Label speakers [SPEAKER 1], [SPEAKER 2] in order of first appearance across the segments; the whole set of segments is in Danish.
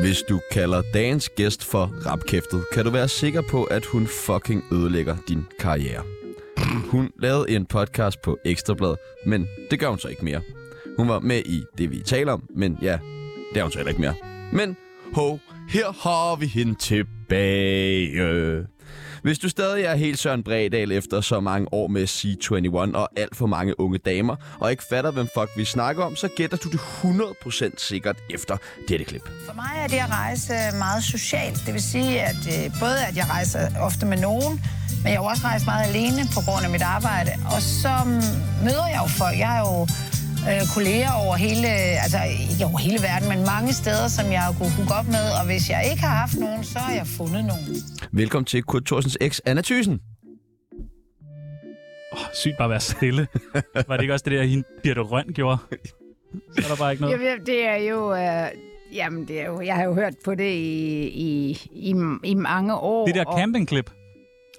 [SPEAKER 1] Hvis du kalder dagens gæst for rapkæftet, kan du være sikker på, at hun fucking ødelægger din karriere. Hun lavede en podcast på Ekstrabladet, men det gør hun så ikke mere. Hun var med i det, vi taler om, men ja, det er hun så heller ikke mere. Men ho, her har vi hende tilbage. Hvis du stadig er helt Søren Bredal efter så mange år med C21 og alt for mange unge damer, og ikke fatter, hvem fuck vi snakker om, så gætter du det 100% sikkert efter dette klip.
[SPEAKER 2] For mig er det at rejse øh, meget socialt. Det vil sige, at øh, både at jeg rejser ofte med nogen, men jeg har jo også rejst meget alene på grund af mit arbejde. Og så møder jeg jo folk. Jeg har jo øh, kolleger over hele, altså, ikke over hele verden, men mange steder, som jeg har kunne hooke op med. Og hvis jeg ikke har haft nogen, så har jeg fundet nogen.
[SPEAKER 1] Velkommen til Kurt Thorsens eks, Anna Thysen.
[SPEAKER 3] Oh, sygt bare at være stille. Var det ikke også det der, hende Birte Røn gjorde? Så er der bare ikke noget.
[SPEAKER 4] Jamen, det er jo... Øh, jamen, det er jo, jeg har jo hørt på det i, i, i, i mange år.
[SPEAKER 3] Det der
[SPEAKER 4] og-
[SPEAKER 3] campingklip.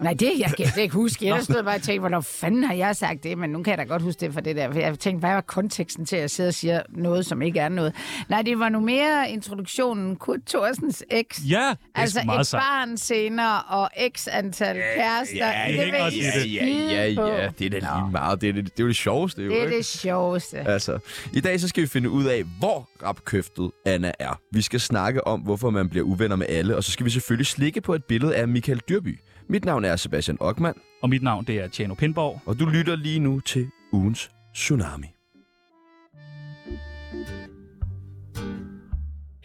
[SPEAKER 4] Nej, det jeg kan jeg ikke huske. Jeg stod bare og tænkte, hvornår fanden har jeg sagt det? Men nu kan jeg da godt huske det for det der. For jeg tænkte, hvad var konteksten til, at jeg sidder og siger noget, som ikke er noget? Nej, det var nu mere introduktionen. Kurt Thorsens eks.
[SPEAKER 3] Ja, det er
[SPEAKER 4] Altså
[SPEAKER 3] altså,
[SPEAKER 4] et
[SPEAKER 3] meget sejt.
[SPEAKER 4] barn senere og x antal kærester.
[SPEAKER 1] ja,
[SPEAKER 3] det
[SPEAKER 4] det
[SPEAKER 3] hænger
[SPEAKER 4] vil
[SPEAKER 3] også i
[SPEAKER 4] I
[SPEAKER 3] det.
[SPEAKER 4] skide på.
[SPEAKER 1] det er da lige meget. Det er det, det, er jo det sjoveste, jo,
[SPEAKER 4] Det er
[SPEAKER 1] ikke?
[SPEAKER 4] det sjoveste.
[SPEAKER 1] Altså, i dag så skal vi finde ud af, hvor rapkøftet Anna er. Vi skal snakke om, hvorfor man bliver uvenner med alle, og så skal vi selvfølgelig slikke på et billede af Michael Dyrby. Mit navn er Sebastian Ockmann,
[SPEAKER 3] Og mit navn, det er Tjano Pindborg.
[SPEAKER 1] og du lytter lige nu til ugens Tsunami.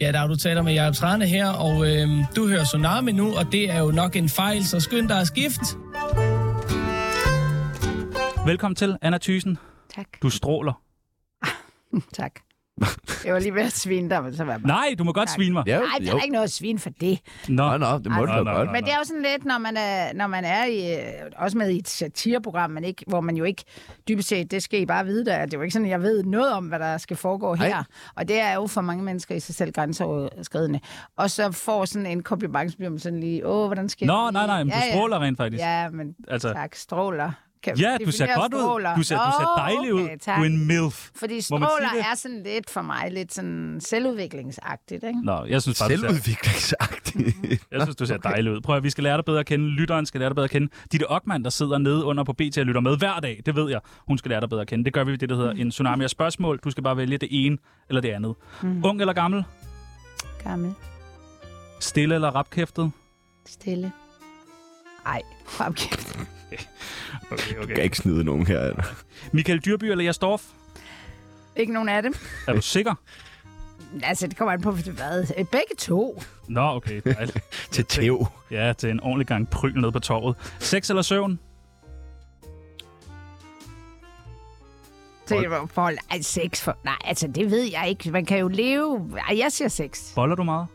[SPEAKER 5] Ja, der er du taler med Jacob Trane her, og øh, du hører Tsunami nu, og det er jo nok en fejl, så skynd dig at skifte.
[SPEAKER 3] Velkommen til, Anna Thysen.
[SPEAKER 4] Tak,
[SPEAKER 3] Du stråler.
[SPEAKER 4] tak. Jeg var lige ved at svine dig, men så var jeg bare...
[SPEAKER 3] Nej, du må godt
[SPEAKER 4] Tak.
[SPEAKER 3] svine mig.
[SPEAKER 1] Ja,
[SPEAKER 4] Nej, der er ikke noget at svine for det.
[SPEAKER 3] Nå,
[SPEAKER 1] Nå, nå, det må
[SPEAKER 4] Ej,
[SPEAKER 1] du da
[SPEAKER 3] nå,
[SPEAKER 1] godt.
[SPEAKER 3] nå, nå.
[SPEAKER 4] Men det er jo sådan lidt, når man er, når man er i, øh, også med i et satireprogram, men ikke, hvor man jo ikke dybest set, det skal I bare vide, der. er- det er jo ikke sådan, at jeg ved noget om, hvad der skal foregå her. Og det er jo for mange mennesker i sig selv grænseoverskridende. Og så får sådan en kompliment, så bliver man sådan lige, åh, hvordan skal
[SPEAKER 3] Nå,
[SPEAKER 4] jeg
[SPEAKER 3] nej,
[SPEAKER 4] lige?"
[SPEAKER 3] nej, men du
[SPEAKER 4] Ja, ja.
[SPEAKER 3] stråler rent faktisk.
[SPEAKER 4] Ja, men
[SPEAKER 3] Altså-
[SPEAKER 4] altså, tak, stråler. Kan
[SPEAKER 3] Ja, du ser
[SPEAKER 4] definere
[SPEAKER 3] godt ud. Du ser, du ser
[SPEAKER 4] Nå,
[SPEAKER 3] dejlig ud.
[SPEAKER 4] okay, tak.
[SPEAKER 3] Du er en milf.
[SPEAKER 4] Fordi
[SPEAKER 3] Må man sige
[SPEAKER 4] stråler
[SPEAKER 3] det?
[SPEAKER 4] er sådan lidt for mig, lidt sådan selvudviklingsagtigt, ikke?
[SPEAKER 3] Nå, jeg synes bare, du ser,
[SPEAKER 1] Selvudviklingsagtigt.
[SPEAKER 3] jeg synes, du ser dejlig ud. Prøv at vi skal lære dig bedre at kende. Lytteren skal lære dig bedre at kende. Ditte Ockmann, der sidder nede under på BT og lytter med hver dag, det ved jeg, hun skal lære dig bedre at kende. Det gør vi ved det, der hedder en tsunami af spørgsmål. Du skal bare vælge det ene eller det andet.
[SPEAKER 4] Mm.
[SPEAKER 3] Ung eller gammel?
[SPEAKER 4] Gammel,
[SPEAKER 3] Stille eller rapkæftet?
[SPEAKER 4] stille. Ej, fremkæft.
[SPEAKER 3] Okay,
[SPEAKER 1] Du kan ikke snide nogen her. Anna.
[SPEAKER 3] Michael Dyrby eller Jastorf?
[SPEAKER 4] Ikke nogen af dem.
[SPEAKER 3] Er du sikker?
[SPEAKER 4] Altså, det kommer an på, hvad. Øh, Begge to.
[SPEAKER 3] Nå, okay. Dejligt.
[SPEAKER 1] Til tæv.
[SPEAKER 3] Ja, til en ordentlig gang pryl nede på torvet. Sex eller søvn?
[SPEAKER 4] Det var forhold. Ej, sex for... Nej, altså, det ved jeg ikke. Man kan jo leve... Ej, jeg siger sex.
[SPEAKER 3] Boller du meget?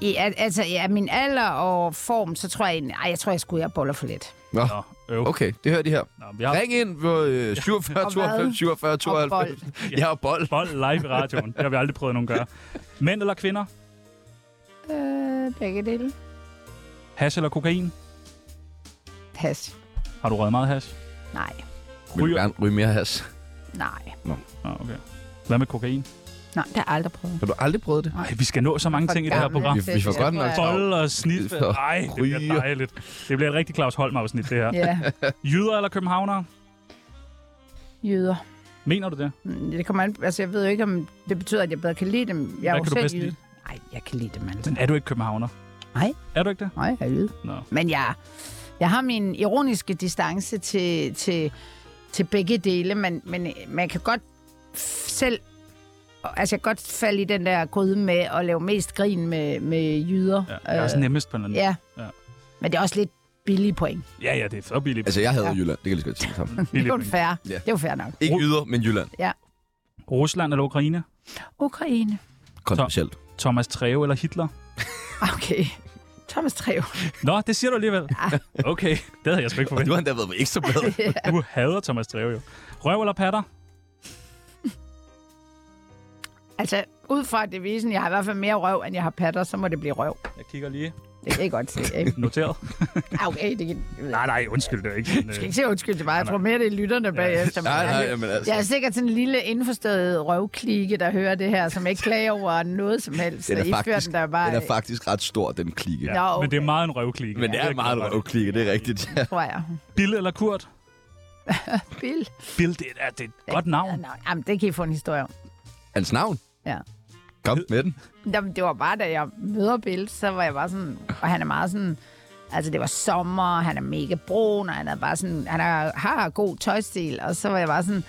[SPEAKER 4] I, al- altså, ja, min alder og form, så tror jeg... egentlig- Ej, jeg tror, jeg skulle jeg boller for lidt.
[SPEAKER 1] Nå,
[SPEAKER 3] Nå, øv.
[SPEAKER 1] okay, det hører de her.
[SPEAKER 3] Nå, vi har
[SPEAKER 1] Ring ind på øh, 47
[SPEAKER 4] Og
[SPEAKER 1] 92
[SPEAKER 4] hvad?
[SPEAKER 1] 47
[SPEAKER 4] Og bold.
[SPEAKER 1] 92. Jeg har bold.
[SPEAKER 3] bold live i radioen. Det har vi aldrig prøvet at nogen gøre. Mænd eller kvinder?
[SPEAKER 4] Øh, begge dele.
[SPEAKER 3] Hash eller kokain?
[SPEAKER 4] Pas.
[SPEAKER 3] Har du røget meget hash?
[SPEAKER 4] Nej,
[SPEAKER 1] Vil du gerne ryge mere has?
[SPEAKER 4] nej.
[SPEAKER 3] Nå, okay. Hvad med kokain?
[SPEAKER 4] Nej, det har jeg aldrig prøvet.
[SPEAKER 1] Har du aldrig prøvet det?
[SPEAKER 3] Nej, vi skal nå så mange ting i det her
[SPEAKER 4] Gamle
[SPEAKER 3] program.
[SPEAKER 1] Vi- vi får
[SPEAKER 4] fest,
[SPEAKER 1] godt
[SPEAKER 4] jeg
[SPEAKER 1] nok
[SPEAKER 4] tror, jeg-
[SPEAKER 3] Bold og snit. Nej, det bliver
[SPEAKER 1] Ryge.
[SPEAKER 3] dejligt. Det bliver et rigtig Claus Holm-afsnit, det her.
[SPEAKER 4] Ja,
[SPEAKER 3] Jyder eller københavnere?
[SPEAKER 4] jyder.
[SPEAKER 3] Mener du det?
[SPEAKER 4] Mm, Det kommer an, altså, jeg ved jo ikke, om det betyder, at jeg bedre kan lide dem. Jeg er
[SPEAKER 3] Hvad
[SPEAKER 4] jo
[SPEAKER 3] kan du
[SPEAKER 4] selv
[SPEAKER 3] bedst
[SPEAKER 4] jyde.
[SPEAKER 3] lide?
[SPEAKER 4] Nej, jeg kan lide dem alle.
[SPEAKER 3] Men er du ikke københavner?
[SPEAKER 4] Nej.
[SPEAKER 3] Er du ikke det?
[SPEAKER 4] Nej, jeg er jyde.
[SPEAKER 3] Nå.
[SPEAKER 4] Men jeg, jeg har min ironiske distance til, til, til begge dele, men, men man kan godt f- selv... Altså, jeg kan godt falde i den der gryde med at lave mest grin med, med jyder. Øh,
[SPEAKER 3] Ja, det er også nemmest på en eller anden
[SPEAKER 4] ja.
[SPEAKER 3] Ja.
[SPEAKER 4] ja. Men det er også lidt billige point.
[SPEAKER 3] Ja, ja, det er så billigt.
[SPEAKER 1] Altså, jeg havde Jylland. Det kan jeg lige så godt sige sammen.
[SPEAKER 4] Det er jo
[SPEAKER 3] billigt.
[SPEAKER 4] fair. Ja.
[SPEAKER 1] Ja.
[SPEAKER 4] Det er jo fair nok.
[SPEAKER 1] Ikke yder, men Jylland.
[SPEAKER 3] Rusland eller Ukraine?
[SPEAKER 4] Ukraine.
[SPEAKER 1] Kontroversielt.
[SPEAKER 3] Thomas Treve eller Hitler?
[SPEAKER 4] Okay. Thomas Treve.
[SPEAKER 3] Nå, det siger du alligevel.
[SPEAKER 4] Ah.
[SPEAKER 3] Okay, det havde jeg sgu ikke
[SPEAKER 1] Og du
[SPEAKER 3] forventet.
[SPEAKER 1] har endda været på ekstra blad.
[SPEAKER 3] Du hader Thomas Treve jo. Røv eller patter?
[SPEAKER 4] Altså, ud fra devisen, jeg har i hvert fald mere røv, end jeg har patter, så må det blive røv.
[SPEAKER 3] Jeg kigger lige.
[SPEAKER 4] Det kan I godt se, ikke?
[SPEAKER 3] Noteret?
[SPEAKER 4] Ah, okay, det kan...
[SPEAKER 3] nej, nej, undskyld. Det er ikke sådan,
[SPEAKER 4] Du skal
[SPEAKER 3] øh.
[SPEAKER 4] ikke sige undskyld til mig. Jeg tror mere, det er lytterne bagefter. men
[SPEAKER 1] Nej,
[SPEAKER 4] jeg-
[SPEAKER 1] nej, jamen altså.
[SPEAKER 4] Jeg er sikkert sådan en lille indforstået røvklike, der hører det her, som ikke klager over noget som helst.
[SPEAKER 1] Den
[SPEAKER 4] Så I
[SPEAKER 1] er,
[SPEAKER 4] fører
[SPEAKER 1] faktisk,
[SPEAKER 4] der bare...
[SPEAKER 1] den er faktisk ret stor, den klikke. Ja.
[SPEAKER 4] Nå,
[SPEAKER 3] Men det
[SPEAKER 4] okay,
[SPEAKER 3] er meget en røvklikke.
[SPEAKER 1] Men det er meget røvklikke, det er rigtigt. Ja.
[SPEAKER 4] tror jeg.
[SPEAKER 3] Bill eller Kurt?
[SPEAKER 4] Bill.
[SPEAKER 3] Bill, det er, det er et godt navn.
[SPEAKER 4] Nå, jamen, det kan I få en historie om.
[SPEAKER 1] Hans navn?
[SPEAKER 4] Ja.
[SPEAKER 1] Kom med den.
[SPEAKER 4] Jamen, det var bare, da jeg møder Bill, så var jeg bare sådan... Og han er meget sådan... Altså, det var sommer, og han er mega brun, og han er bare sådan... Han er, har god tøjstil, og så var jeg bare sådan...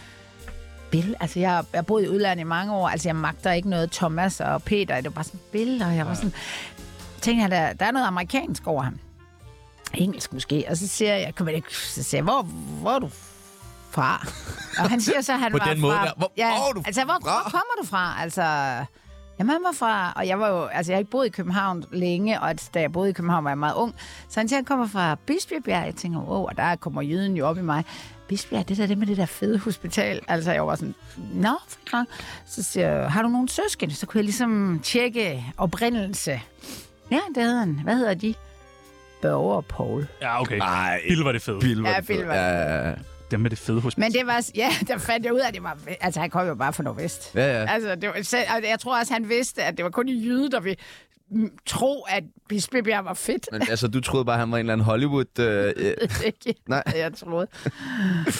[SPEAKER 4] Bill, altså jeg har- jeg har boet i udlandet i mange år, altså jeg magter ikke noget Thomas og Peter, det var bare sådan Bill, og jeg var sådan... Tænkte jeg, der, der er noget amerikansk over ham. Engelsk måske, og så siger jeg, kan man ikke, så siger jeg, hvor, hvor er du fra? Og han siger så, at han
[SPEAKER 1] På
[SPEAKER 4] var
[SPEAKER 1] den
[SPEAKER 4] fra...
[SPEAKER 1] måde der. Hvor- hvor er du
[SPEAKER 4] altså, hvor, hvor
[SPEAKER 1] fra?
[SPEAKER 4] kommer du fra? Altså, Jamen, han var fra, og jeg var jo, altså jeg har ikke boet i København længe, og at, da jeg boede i København, var jeg meget ung. Så han siger, han kommer fra Bispebjerg. Jeg tænker, wow, og der kommer jyden jo op i mig. Bispebjerg, det der det med det der fede hospital. Altså, jeg var sådan, nå, fint nok. Så siger jeg, har du nogen søskende? Så kunne jeg ligesom tjekke oprindelse. Ja, det hedder han. Hvad hedder de? Børge og Paul.
[SPEAKER 3] Ja, okay.
[SPEAKER 1] Ej,
[SPEAKER 3] Bill var det fede.
[SPEAKER 1] Bill var
[SPEAKER 4] Ja,
[SPEAKER 1] det fed.
[SPEAKER 4] Bill var
[SPEAKER 1] Ja, ja, ja.
[SPEAKER 3] Dem med det fede hos
[SPEAKER 4] Men det var, ja, der fandt jeg ud af, at det var, altså han kom jo bare fra Nordvest.
[SPEAKER 1] Ja, ja.
[SPEAKER 4] Altså, det var, så, altså, jeg tror også, han vidste, at det var kun de jyde, der ville mm, tro, at Bispebjerg var fedt.
[SPEAKER 1] Men altså, du troede bare, han var en eller anden Hollywood... Øh, øh.
[SPEAKER 4] Ikke?
[SPEAKER 1] Nej.
[SPEAKER 4] Jeg troede.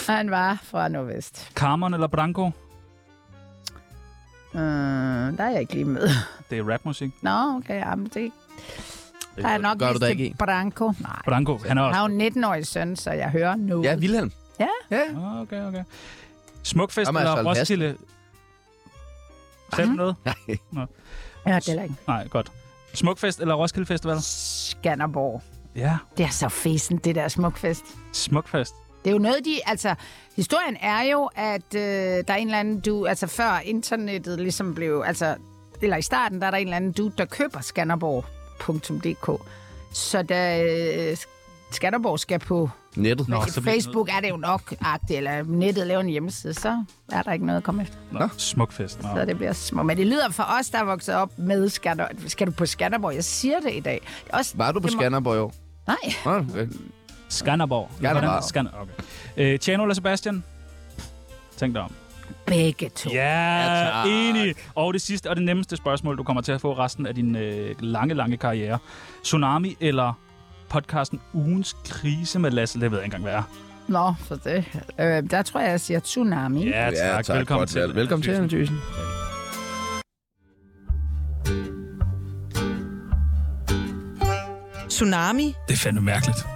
[SPEAKER 4] Han var fra Nordvest.
[SPEAKER 3] Carmen eller Branko?
[SPEAKER 4] Mm, der er jeg ikke lige med.
[SPEAKER 3] Det er rapmusik.
[SPEAKER 4] Nå, okay, jamen det... Der er nok
[SPEAKER 1] gør du
[SPEAKER 4] mest
[SPEAKER 1] da
[SPEAKER 4] til
[SPEAKER 1] ikke i.
[SPEAKER 4] Branko. Nej.
[SPEAKER 3] Branko, han er
[SPEAKER 4] Jeg
[SPEAKER 3] også...
[SPEAKER 4] har jo en 19-årig søn, så jeg hører nu.
[SPEAKER 1] Ja, Wilhelm.
[SPEAKER 4] Ja.
[SPEAKER 1] Ja.
[SPEAKER 3] Ah, Okay, okay. Smukfest
[SPEAKER 1] Jamen,
[SPEAKER 3] eller
[SPEAKER 1] altså, Alhasten.
[SPEAKER 3] Roskilde? Sagde du noget?
[SPEAKER 4] Ja, det er ikke.
[SPEAKER 3] Nej, godt. Smukfest eller Roskilde Festival?
[SPEAKER 4] Skanderborg.
[SPEAKER 3] Ja,
[SPEAKER 4] Det er så fesen, det der smukfest.
[SPEAKER 3] smukfest.
[SPEAKER 4] Det er jo noget, de... Altså, historien er jo, at øh, der er en eller anden du... Altså, før internettet ligesom blev... Altså, eller i starten, der er der en eller anden du, der køber skanderborg.dk. Så da øh, Skanderborg skal på
[SPEAKER 1] Nettet.
[SPEAKER 3] Nå, så
[SPEAKER 4] Nå,
[SPEAKER 3] bliver det
[SPEAKER 4] Facebook, er det jo nok agtigt, eller nettet laver en hjemmeside, så er der ikke noget at komme efter.
[SPEAKER 3] Nå, smukfest. Nå.
[SPEAKER 4] Så det bliver små. Men det lyder for os, der er vokset op med Skander... Skal du på Skanderborg? Jeg siger det i dag. Det er Også,
[SPEAKER 1] Var du på
[SPEAKER 4] det må-
[SPEAKER 1] Skanderborg i år?
[SPEAKER 4] Nej.
[SPEAKER 1] Nå, øh, okay.
[SPEAKER 3] Skanderborg. Eller hvordan?
[SPEAKER 1] Skanderborg.
[SPEAKER 3] Skan okay. Øh, Tjano eller Sebastian? Tænk dig om.
[SPEAKER 4] Begge to.
[SPEAKER 1] Ja,
[SPEAKER 3] Ja,
[SPEAKER 1] tak.
[SPEAKER 3] enig. Og det sidste og det nemmeste spørgsmål, du kommer til at få resten af din øh, lange, lange karriere. Tsunami eller podcasten Ugens Krise med Lasse? Det ved jeg ikke engang, hvad er.
[SPEAKER 4] Nå, for det. Øh, der tror jeg, jeg siger tsunami.
[SPEAKER 3] Ja, tak.
[SPEAKER 1] Ja, tak.
[SPEAKER 3] Velkommen
[SPEAKER 1] Godt
[SPEAKER 3] til.
[SPEAKER 1] valg. Velkommen til, Anne Thyssen.
[SPEAKER 6] Tsunami.
[SPEAKER 3] Det er fandme mærkeligt.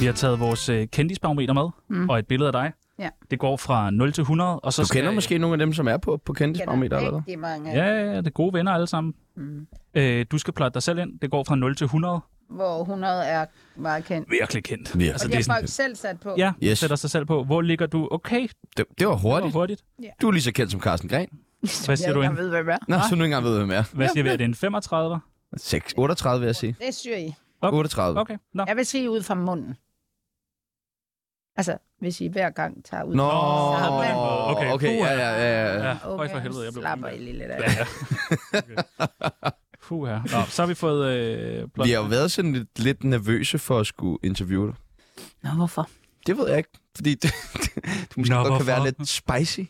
[SPEAKER 3] Vi har taget vores øh, kendisbarometer med, mm. og et billede af dig.
[SPEAKER 4] Ja.
[SPEAKER 3] Det går fra 0 til 100, og så
[SPEAKER 1] Du
[SPEAKER 3] skal,
[SPEAKER 1] kender måske nogle af dem, som er på, på kendtisbarometer, eller hvad?
[SPEAKER 4] Rigtig mange.
[SPEAKER 3] Ja, ja, ja, det er gode venner alle sammen. Mm. Øh, du skal plotte dig selv ind. Det går fra 0 til 100.
[SPEAKER 4] Hvor 100 er meget kendt.
[SPEAKER 3] Virkelig kendt.
[SPEAKER 1] Virkelig.
[SPEAKER 3] Altså,
[SPEAKER 4] Og
[SPEAKER 3] det
[SPEAKER 4] det
[SPEAKER 3] er
[SPEAKER 4] har folk
[SPEAKER 3] sådan,
[SPEAKER 4] selv sat på.
[SPEAKER 3] ja, yes.
[SPEAKER 1] Yes.
[SPEAKER 3] sætter sig selv på. Hvor ligger du? Okay,
[SPEAKER 1] Det, det var
[SPEAKER 3] det var
[SPEAKER 1] hurtigt.
[SPEAKER 3] hurtigt.
[SPEAKER 1] Du er lige så kendt som Carsten Gren.
[SPEAKER 3] Hvad siger du?
[SPEAKER 4] Jeg
[SPEAKER 3] En,
[SPEAKER 4] ved, hvem er.
[SPEAKER 1] Nå, så nu ikke engang ved, hvem jeg er.
[SPEAKER 3] hvad siger vi? Er det en 35?
[SPEAKER 1] 6, 38, vil jeg sige.
[SPEAKER 4] Det syr I.
[SPEAKER 1] 38.
[SPEAKER 3] Okay, nå.
[SPEAKER 4] Jeg vil sige ud fra munden. Altså, hvis I hver gang tager ud.
[SPEAKER 1] Nå,
[SPEAKER 4] på den måde.
[SPEAKER 3] Okay.
[SPEAKER 1] okay. okay. Ja, ja, ja, ja.
[SPEAKER 3] Ja, okay. for helvede, jeg blev
[SPEAKER 4] slapper I lige lidt af.
[SPEAKER 3] Ja. Puh, her. Nå, så har vi fået øh, blot...
[SPEAKER 1] Vi har jo været sådan lidt, lidt nervøse for at skulle interviewe dig.
[SPEAKER 4] Nå, hvorfor?
[SPEAKER 1] Det ved jeg ikke, fordi det, du måske
[SPEAKER 3] Nå,
[SPEAKER 1] Nå, godt kan være
[SPEAKER 3] hvorfor?
[SPEAKER 1] lidt spicy.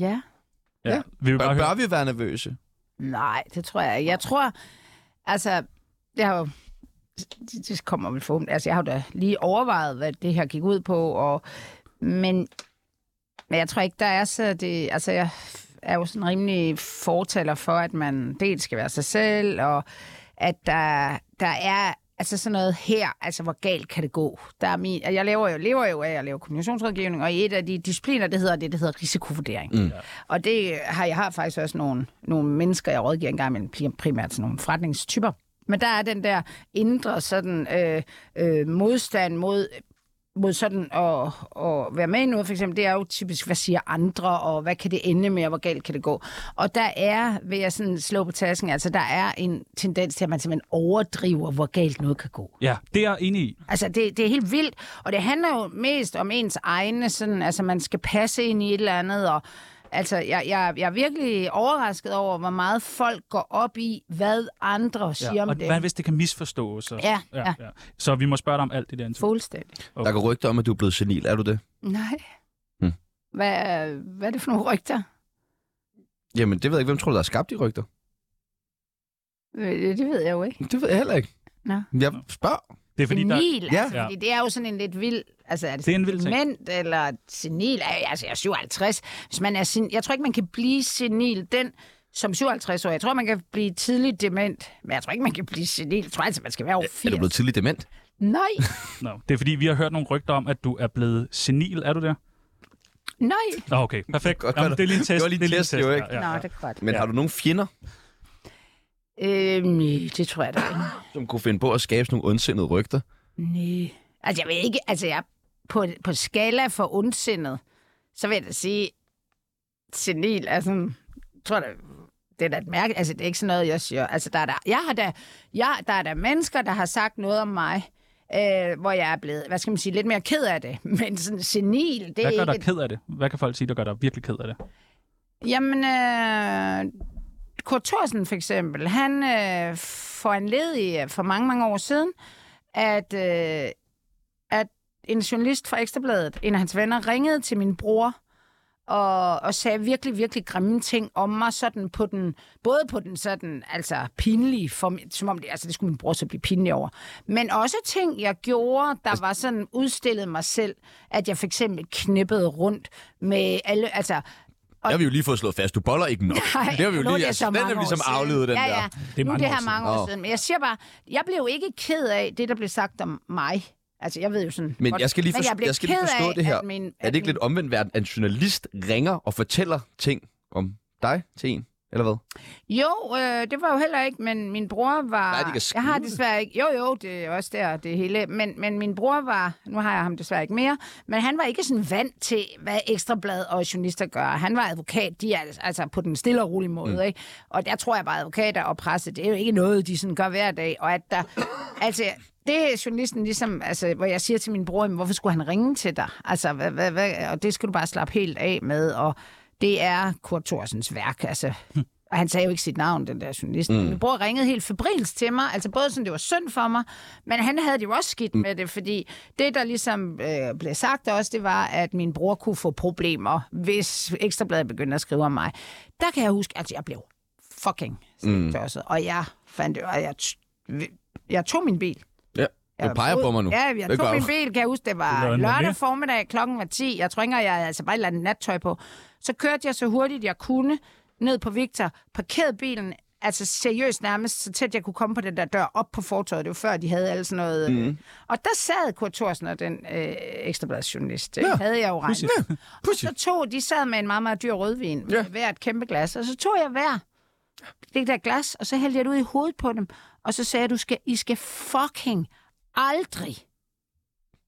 [SPEAKER 4] Ja.
[SPEAKER 3] ja. Vi vil
[SPEAKER 1] Bør,
[SPEAKER 3] bare høre.
[SPEAKER 1] bør vi være nervøse?
[SPEAKER 4] Nej, det tror jeg ikke. Jeg tror, altså, jeg har jo det, det kommer vel forhåbentlig. Altså, jeg har jo da lige overvejet, hvad det her gik ud på, og, men, men jeg tror ikke, der er så det... Altså, jeg er jo sådan rimelig fortaler for, at man dels skal være sig selv, og at der, der er altså sådan noget her, altså hvor galt kan det gå? Der er min, og jeg lever jo, lever jo af at lave kommunikationsrådgivning, og i et af de discipliner, det hedder det, der hedder risikovurdering. Mm. Og det har jeg har faktisk også nogle, nogle mennesker, jeg rådgiver engang imellem, primært sådan nogle forretningstyper. Men der er den der indre sådan, øh, øh, modstand mod mod sådan at, at være med i noget, for eksempel, det er jo typisk, hvad siger andre, og hvad kan det ende med, og hvor galt kan det gå? Og der er, vil jeg sådan slå på tasken, altså der er en tendens til, at man simpelthen overdriver, hvor galt noget kan gå.
[SPEAKER 3] Ja, det er jeg enig i.
[SPEAKER 4] Altså, det, det er helt vildt, og det handler jo mest om ens egne, sådan, altså man skal passe ind i et eller andet, og Altså, jeg, jeg, jeg er virkelig overrasket over, hvor meget folk går op i, hvad andre siger ja,
[SPEAKER 3] og
[SPEAKER 4] om det.
[SPEAKER 3] hvad hvis det kan misforstås? Så,
[SPEAKER 4] Ja, ja.
[SPEAKER 3] Så vi må spørge dig om alt det der. interview.
[SPEAKER 4] Fuldstændig.
[SPEAKER 1] Der går rygter om, at du er blevet senil. Er du det?
[SPEAKER 4] Nej.
[SPEAKER 3] Hm.
[SPEAKER 1] Hmm.
[SPEAKER 4] Hvad, hvad er det for nogle rygter?
[SPEAKER 1] Jamen, det ved jeg ikke. Hvem tror du, der har skabt de rygter?
[SPEAKER 4] Øh, Det ved jeg jo ikke.
[SPEAKER 1] Det ved jeg heller ikke.
[SPEAKER 4] Nå.
[SPEAKER 1] Jeg spørger.
[SPEAKER 3] Det er fordi, der,
[SPEAKER 4] senil,
[SPEAKER 1] Ja.
[SPEAKER 4] altså,
[SPEAKER 3] Ja.
[SPEAKER 4] fordi det er jo sådan en lidt vild... Altså, er det,
[SPEAKER 3] Det er en vild ting.
[SPEAKER 4] dement, eller senil? Ej, Altså, jeg er 57. Hvis man er sen, jeg tror ikke, man kan blive senil den som 57 år. Jeg tror, man kan blive tidligt dement. Men jeg tror ikke, man kan blive senil. Jeg tror altså, man skal være over 80.
[SPEAKER 1] Er du blevet tidligt dement?
[SPEAKER 4] Nej,
[SPEAKER 3] no, det er fordi, vi har hørt nogle rygter om, at du er blevet senil. Er du der?
[SPEAKER 4] nej.
[SPEAKER 3] Nå, okay. Perfekt.
[SPEAKER 1] Godt,
[SPEAKER 3] Jamen,
[SPEAKER 1] godt.
[SPEAKER 3] det er lige en test.
[SPEAKER 1] Det var lige en test, jo, ikke?
[SPEAKER 4] Nå, det er godt.
[SPEAKER 1] Men
[SPEAKER 3] Ja.
[SPEAKER 1] ja. har du nogen fjender,
[SPEAKER 4] Øhm, nej, det tror jeg da ikke.
[SPEAKER 1] som kunne finde på at skabe sådan nogle ondsindede rygter?
[SPEAKER 4] Nej. Altså, jeg ved ikke, altså, jeg på, på skala for ondsindet, så vil jeg da sige, senil er sådan, jeg tror da, det er da et mærke, altså, det er ikke sådan noget, jeg siger. Altså, der er der, jeg har da, jeg, der er der mennesker, der har sagt noget om mig, øh, hvor jeg er blevet, hvad skal man sige, lidt mere ked af det. Men sådan senil, det
[SPEAKER 3] Hvad
[SPEAKER 4] er
[SPEAKER 3] gør
[SPEAKER 4] ikke...
[SPEAKER 3] dig ked af det? Hvad kan folk sige, der gør dig virkelig ked af det?
[SPEAKER 4] Jamen, øh, Kurt Thorsen for eksempel, han øh, foranledede for mange, mange år siden, at, øh, at en journalist fra Ekstrabladet, en af hans venner, ringede til min bror og, og sagde virkelig, virkelig grimme ting om mig, sådan på den, både på den sådan, altså pinlige, for, som om det, altså det skulle min bror så blive pinlig over, men også ting, jeg gjorde, der var sådan udstillet mig selv, at jeg for eksempel knippede rundt med alle, altså
[SPEAKER 1] Der har vi jo lige fået slået fast. Du boller ikke nok.
[SPEAKER 4] Nej,
[SPEAKER 1] det har vi jo
[SPEAKER 4] nu
[SPEAKER 1] lige,
[SPEAKER 4] er det så
[SPEAKER 1] den
[SPEAKER 4] mange
[SPEAKER 1] er
[SPEAKER 4] år
[SPEAKER 1] ligesom
[SPEAKER 4] siden.
[SPEAKER 1] aflevet, den
[SPEAKER 4] ja,
[SPEAKER 1] der.
[SPEAKER 4] ja.
[SPEAKER 3] Det er
[SPEAKER 4] nu er
[SPEAKER 3] mange
[SPEAKER 4] det
[SPEAKER 3] år
[SPEAKER 4] her
[SPEAKER 3] siden.
[SPEAKER 4] mange år
[SPEAKER 1] Nå.
[SPEAKER 4] siden. Men jeg siger bare, jeg blev jo ikke ked af det, der blev sagt om mig. Altså, jeg ved jo sådan...
[SPEAKER 1] Men
[SPEAKER 4] godt-
[SPEAKER 1] jeg skal lige,
[SPEAKER 4] men
[SPEAKER 1] forstå, jeg
[SPEAKER 4] blev
[SPEAKER 1] jeg skal lige
[SPEAKER 4] ked
[SPEAKER 1] forstå
[SPEAKER 4] af,
[SPEAKER 1] det her.
[SPEAKER 4] At min,
[SPEAKER 1] er det ikke lidt omvendt verden, at en journalist ringer og fortæller ting om dig til en? Eller hvad?
[SPEAKER 4] Jo, øh, det var jo heller ikke, men min bror var...
[SPEAKER 1] Nej, de kan
[SPEAKER 4] jeg har
[SPEAKER 1] skjule det.
[SPEAKER 4] desværre ikke... Jo, jo, det er også der, det hele. Men, men min bror var... Nu har jeg ham desværre ikke mere. Men han var ikke sådan vant til, hvad ekstrablad og journalister gør. Han var advokat, de er altså- altså på den stille og rolige måde, mm. ikke? Og der tror jeg bare, advokater og presse, det er jo ikke noget, de sådan gør hver dag. Og at der... altså, det er journalisten ligesom, altså, hvor jeg siger til min bror, "Jamen, hvorfor skulle han ringe til dig? Altså, hvad, hvad, hvad, og det skal du bare slappe helt af med, og det er Kurt Thorsens værk, altså.
[SPEAKER 1] Hm.
[SPEAKER 4] Og han sagde jo ikke sit navn, den der journalist. Mm. Min bror ringede helt febrilsk til mig, altså både sådan, det var synd for mig, men han havde det jo også skidt
[SPEAKER 1] Mm.
[SPEAKER 4] med det, fordi det, der ligesom øh, blev sagt også, det var, at min bror kunne få problemer, hvis Ekstrabladet begyndte at skrive om mig. Der kan jeg huske, at jeg blev fucking mm. og jeg fandt det, og jeg, t- jeg tog min bil.
[SPEAKER 1] Ja.
[SPEAKER 4] Jeg
[SPEAKER 1] Du peger
[SPEAKER 4] var
[SPEAKER 1] på
[SPEAKER 4] ud-
[SPEAKER 1] mig nu.
[SPEAKER 4] Ja, jeg
[SPEAKER 1] Det
[SPEAKER 4] tog
[SPEAKER 1] gør
[SPEAKER 4] min
[SPEAKER 1] du.
[SPEAKER 4] bil, kan jeg huske, det
[SPEAKER 3] Du
[SPEAKER 4] var
[SPEAKER 3] lavede en
[SPEAKER 4] lørdag
[SPEAKER 3] mané.
[SPEAKER 4] formiddag, klokken var 10. Jeg tror ikke, engang, jeg havde altså bare et eller andet nattøj på. Så kørte jeg så hurtigt, jeg kunne, ned på Victor, parkerede bilen, altså seriøst nærmest, så tæt jeg kunne komme på den der dør, op på fortorvet. Det var før, de havde alle sådan noget. Mm. Og der sad Kurt Thorsen og den øh, ekstrabladsjournalist. Ja. Havde jeg jo regnet. Ja. Og så tog, de sad med en meget, meget dyr rødvin, ja. hver et kæmpe glas, og så tog jeg hver det der glas, og så hældte jeg det ud i hovedet på dem, og så sagde jeg, du skal, I skal fucking aldrig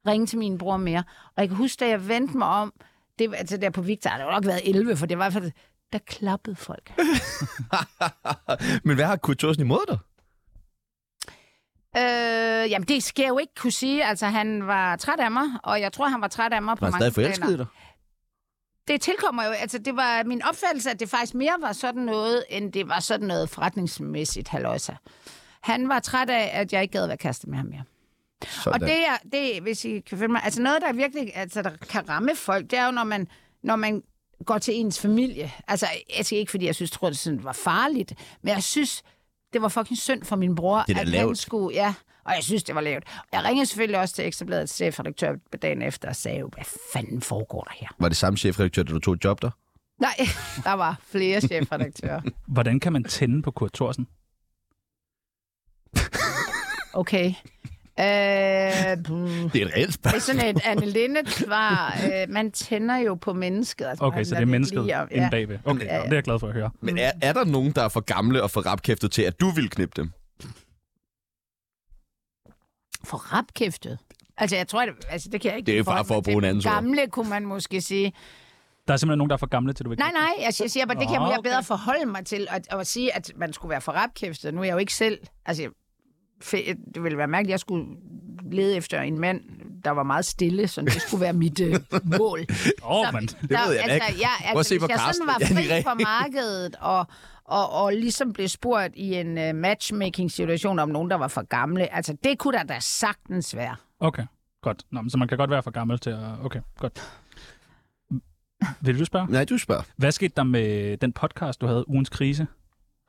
[SPEAKER 4] ringe til min bror mere. Og jeg kan huske, da jeg vendte mig om, det var altså der på Victor, det har nok været 11, for det var i hvert fald, der klappede folk.
[SPEAKER 1] Men hvad har Kurt Thorsen imod dig?
[SPEAKER 4] øh, jamen, det skal jeg jo ikke kunne sige. Altså, han var træt af mig, og jeg tror, han var træt af mig på
[SPEAKER 1] Han er
[SPEAKER 4] mange
[SPEAKER 1] stadig forelsket i
[SPEAKER 4] planer.
[SPEAKER 1] dig.
[SPEAKER 4] Det tilkommer jo, altså det var min opfattelse, at det faktisk mere var sådan noget, end det var sådan noget forretningsmæssigt haløjsa. Han var træt af, at jeg ikke gad at være kæreste med ham mere.
[SPEAKER 1] Sådan.
[SPEAKER 4] Og det er, det, er- hvis I kan følge mig, altså noget, der virkelig altså, der kan ramme folk, det er jo, når man, når man går til ens familie. Altså, jeg skal ikke, fordi jeg synes, tror, det sådan var farligt, men jeg synes, det var fucking synd for min bror,
[SPEAKER 1] Det er da
[SPEAKER 4] at han
[SPEAKER 1] lavt.
[SPEAKER 4] skulle... Ja, og jeg synes, det var lavt. Jeg ringede selvfølgelig også til Ekstrabladets chefredaktør dagen efter og sagde, jo, hvad fanden foregår der her?
[SPEAKER 1] Var det samme chefredaktør, da du tog et job der?
[SPEAKER 4] Nej, der var flere chefredaktører.
[SPEAKER 3] Hvordan kan man tænde på Kurt Thorsen?
[SPEAKER 4] Okay. Øh, puh.
[SPEAKER 1] Det er et reelt
[SPEAKER 4] det er
[SPEAKER 1] spørgsmål.
[SPEAKER 4] sådan et Anne Linnet svar. Øh, man tænder jo på mennesket. Altså,
[SPEAKER 3] Okay,
[SPEAKER 4] man
[SPEAKER 3] så det
[SPEAKER 4] lader
[SPEAKER 3] er
[SPEAKER 4] ikke
[SPEAKER 3] mennesket
[SPEAKER 4] lige om-
[SPEAKER 3] inde bagved. Okay,
[SPEAKER 4] Ja, ja.
[SPEAKER 3] det er jeg glad for at høre.
[SPEAKER 1] Men er, er der nogen, der er for gamle og for rapkæftet til, at du vil knippe dem?
[SPEAKER 4] For rapkæftet? Altså, jeg tror, det, altså, det kan jeg ikke...
[SPEAKER 1] Det er bare for at bruge en anden ord.
[SPEAKER 4] Gamle kunne man måske sige.
[SPEAKER 3] Der er simpelthen nogen, der er for gamle til, du vil
[SPEAKER 4] Nej, nej, altså, jeg siger bare, det kan
[SPEAKER 3] Nå,
[SPEAKER 4] jeg
[SPEAKER 3] okay.
[SPEAKER 4] bedre forholde mig til, at, at sige, at man skulle være for rapkæftet. Nu er jeg jo ikke selv... Altså, jeg- fe- det ville være mærkeligt, at jeg skulle lede efter en mand, der var meget stille, så det skulle være mit øh, mål.
[SPEAKER 3] Åh,
[SPEAKER 4] Så-
[SPEAKER 3] mand.
[SPEAKER 4] så,
[SPEAKER 1] Det ved jeg da
[SPEAKER 4] altså,
[SPEAKER 1] ikke.
[SPEAKER 4] Jeg,
[SPEAKER 1] Prøv at
[SPEAKER 4] altså,
[SPEAKER 1] se på
[SPEAKER 4] hvis jeg
[SPEAKER 1] Carsten.
[SPEAKER 4] sådan var
[SPEAKER 1] Ja, det er
[SPEAKER 4] fri på
[SPEAKER 1] rigtigt.
[SPEAKER 4] markedet og, og, og ligesom blev spurgt i en uh, matchmaking-situation om nogen, der var for gamle, altså det kunne der da sagtens være.
[SPEAKER 3] Okay, godt. Nå, men så man kan godt være for gammel til at... Okay, godt. Vil du spørge?
[SPEAKER 1] Nej, du spørger.
[SPEAKER 3] Hvad skete der med den podcast, du havde, Ugens Krise?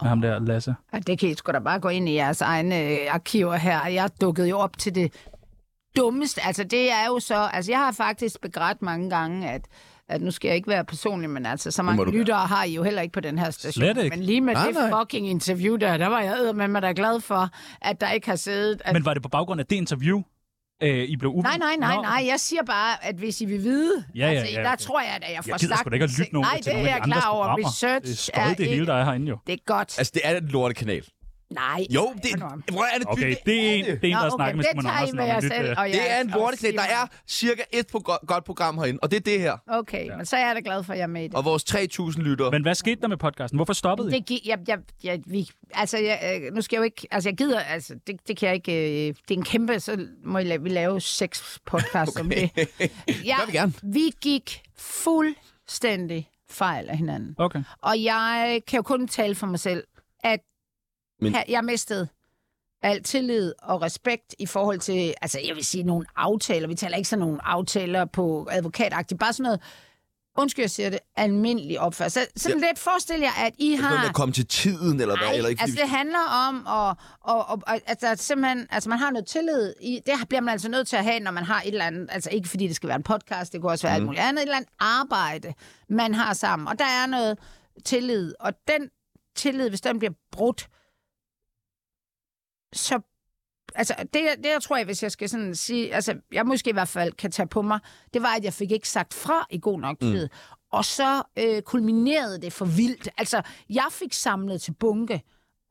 [SPEAKER 3] Med ham der, Lasse.
[SPEAKER 4] Og det kan I sgu da bare gå ind i jeres egne øh, arkiver her. Jeg dukkede jo op til det dummeste. Altså det er jo så... Altså jeg har faktisk begrædt mange gange, at at nu skal jeg ikke være personlig, men altså, så
[SPEAKER 1] må
[SPEAKER 4] mange
[SPEAKER 1] du
[SPEAKER 4] lyttere har I jo heller ikke på den her station.
[SPEAKER 3] Slet ikke.
[SPEAKER 4] Men lige med
[SPEAKER 1] Nej,
[SPEAKER 4] det
[SPEAKER 1] nej.
[SPEAKER 4] fucking interview der, der var jeg med mig da glad for, at der ikke har siddet... At
[SPEAKER 3] Men var det på baggrund af det interview, øh, I blev uvenner?
[SPEAKER 4] Nej, nej, nej,
[SPEAKER 3] Nå,
[SPEAKER 4] nej. Jeg siger bare, at hvis I vil vide,
[SPEAKER 3] Ja, ja,
[SPEAKER 4] altså,
[SPEAKER 3] ja,
[SPEAKER 4] der
[SPEAKER 3] ja.
[SPEAKER 4] tror jeg, at jeg får
[SPEAKER 3] Jeg gider
[SPEAKER 4] sagt...
[SPEAKER 3] sgu da ikke at lytte nogen
[SPEAKER 4] Nej,
[SPEAKER 3] til
[SPEAKER 4] det
[SPEAKER 3] nogle
[SPEAKER 4] er
[SPEAKER 3] af
[SPEAKER 4] jeg
[SPEAKER 3] de andres
[SPEAKER 4] klar over.
[SPEAKER 3] programmer.
[SPEAKER 4] Research
[SPEAKER 3] det er støj, det
[SPEAKER 4] ikke-
[SPEAKER 3] hele, der er herinde jo.
[SPEAKER 4] Det er godt.
[SPEAKER 1] Altså, det er et lortekanal.
[SPEAKER 4] Nej.
[SPEAKER 1] Jo, det,
[SPEAKER 4] Hold nu op.
[SPEAKER 1] hvor er det
[SPEAKER 3] Okay,
[SPEAKER 1] dybt?
[SPEAKER 3] det er en, det er en
[SPEAKER 4] Nå,
[SPEAKER 3] der
[SPEAKER 4] okay,
[SPEAKER 3] snakker med
[SPEAKER 4] det
[SPEAKER 3] Simon
[SPEAKER 4] tager I
[SPEAKER 3] Andersen
[SPEAKER 4] med
[SPEAKER 3] om
[SPEAKER 4] jer
[SPEAKER 3] at lytte,
[SPEAKER 4] selv,
[SPEAKER 3] øh,
[SPEAKER 4] og
[SPEAKER 1] Det
[SPEAKER 4] jeg-
[SPEAKER 1] er en
[SPEAKER 4] og
[SPEAKER 1] lortekanal. Der er
[SPEAKER 4] Simon.
[SPEAKER 1] cirka et progr- godt program herinde, og det er det her.
[SPEAKER 4] Okay, men så er jeg da glad for, at jeg er med i det.
[SPEAKER 1] Og vores 3.000 lyttere.
[SPEAKER 3] Men hvad skete der med podcasten? Hvorfor stoppede I?
[SPEAKER 4] Det gi- jeg, jeg, jeg, vi, altså, jeg, øh, nu skal jeg jo ikke... Altså, jeg gider... Altså, det, det kan jeg ikke... Øh, det er en kæmpe... Så må I la- vi lave seks podcasts om det. Jeg,
[SPEAKER 1] Gør vi gerne.
[SPEAKER 4] Vi gik fuldstændig fejl af hinanden.
[SPEAKER 3] Okay.
[SPEAKER 4] Og jeg kan jo kun tale for mig selv, at
[SPEAKER 1] Men-
[SPEAKER 4] Men... jeg mistede al tillid og respekt i forhold til, altså jeg vil sige nogle aftaler, vi taler ikke sådan nogle aftaler på advokatagtigt, bare sådan noget, undskyld jeg siger det, almindelig opførsel. Så, sådan ja. lidt forestil jer, at I
[SPEAKER 1] Sådan noget med
[SPEAKER 4] har...
[SPEAKER 1] at komme til tiden, eller hvad?
[SPEAKER 4] Ej,
[SPEAKER 1] eller ikke,
[SPEAKER 4] altså det handler om, at, og, og, og, altså, at simpelthen, altså, man har noget tillid. I, det bliver man altså nødt til at have, når man har et eller andet, altså ikke fordi det skal være en podcast, det kunne også
[SPEAKER 1] Mhm.
[SPEAKER 4] være mm. alt muligt andet, et eller andet arbejde, man har sammen. Og der er noget tillid, og den tillid, hvis den bliver brudt, så altså, det, det jeg tror jeg, hvis jeg skal sådan sige, altså, jeg måske i hvert fald kan tage på mig, det var, at jeg fik ikke sagt fra i god nok tid. Mm. Og så øh, kulminerede det for vildt. Altså, jeg fik samlet til bunke,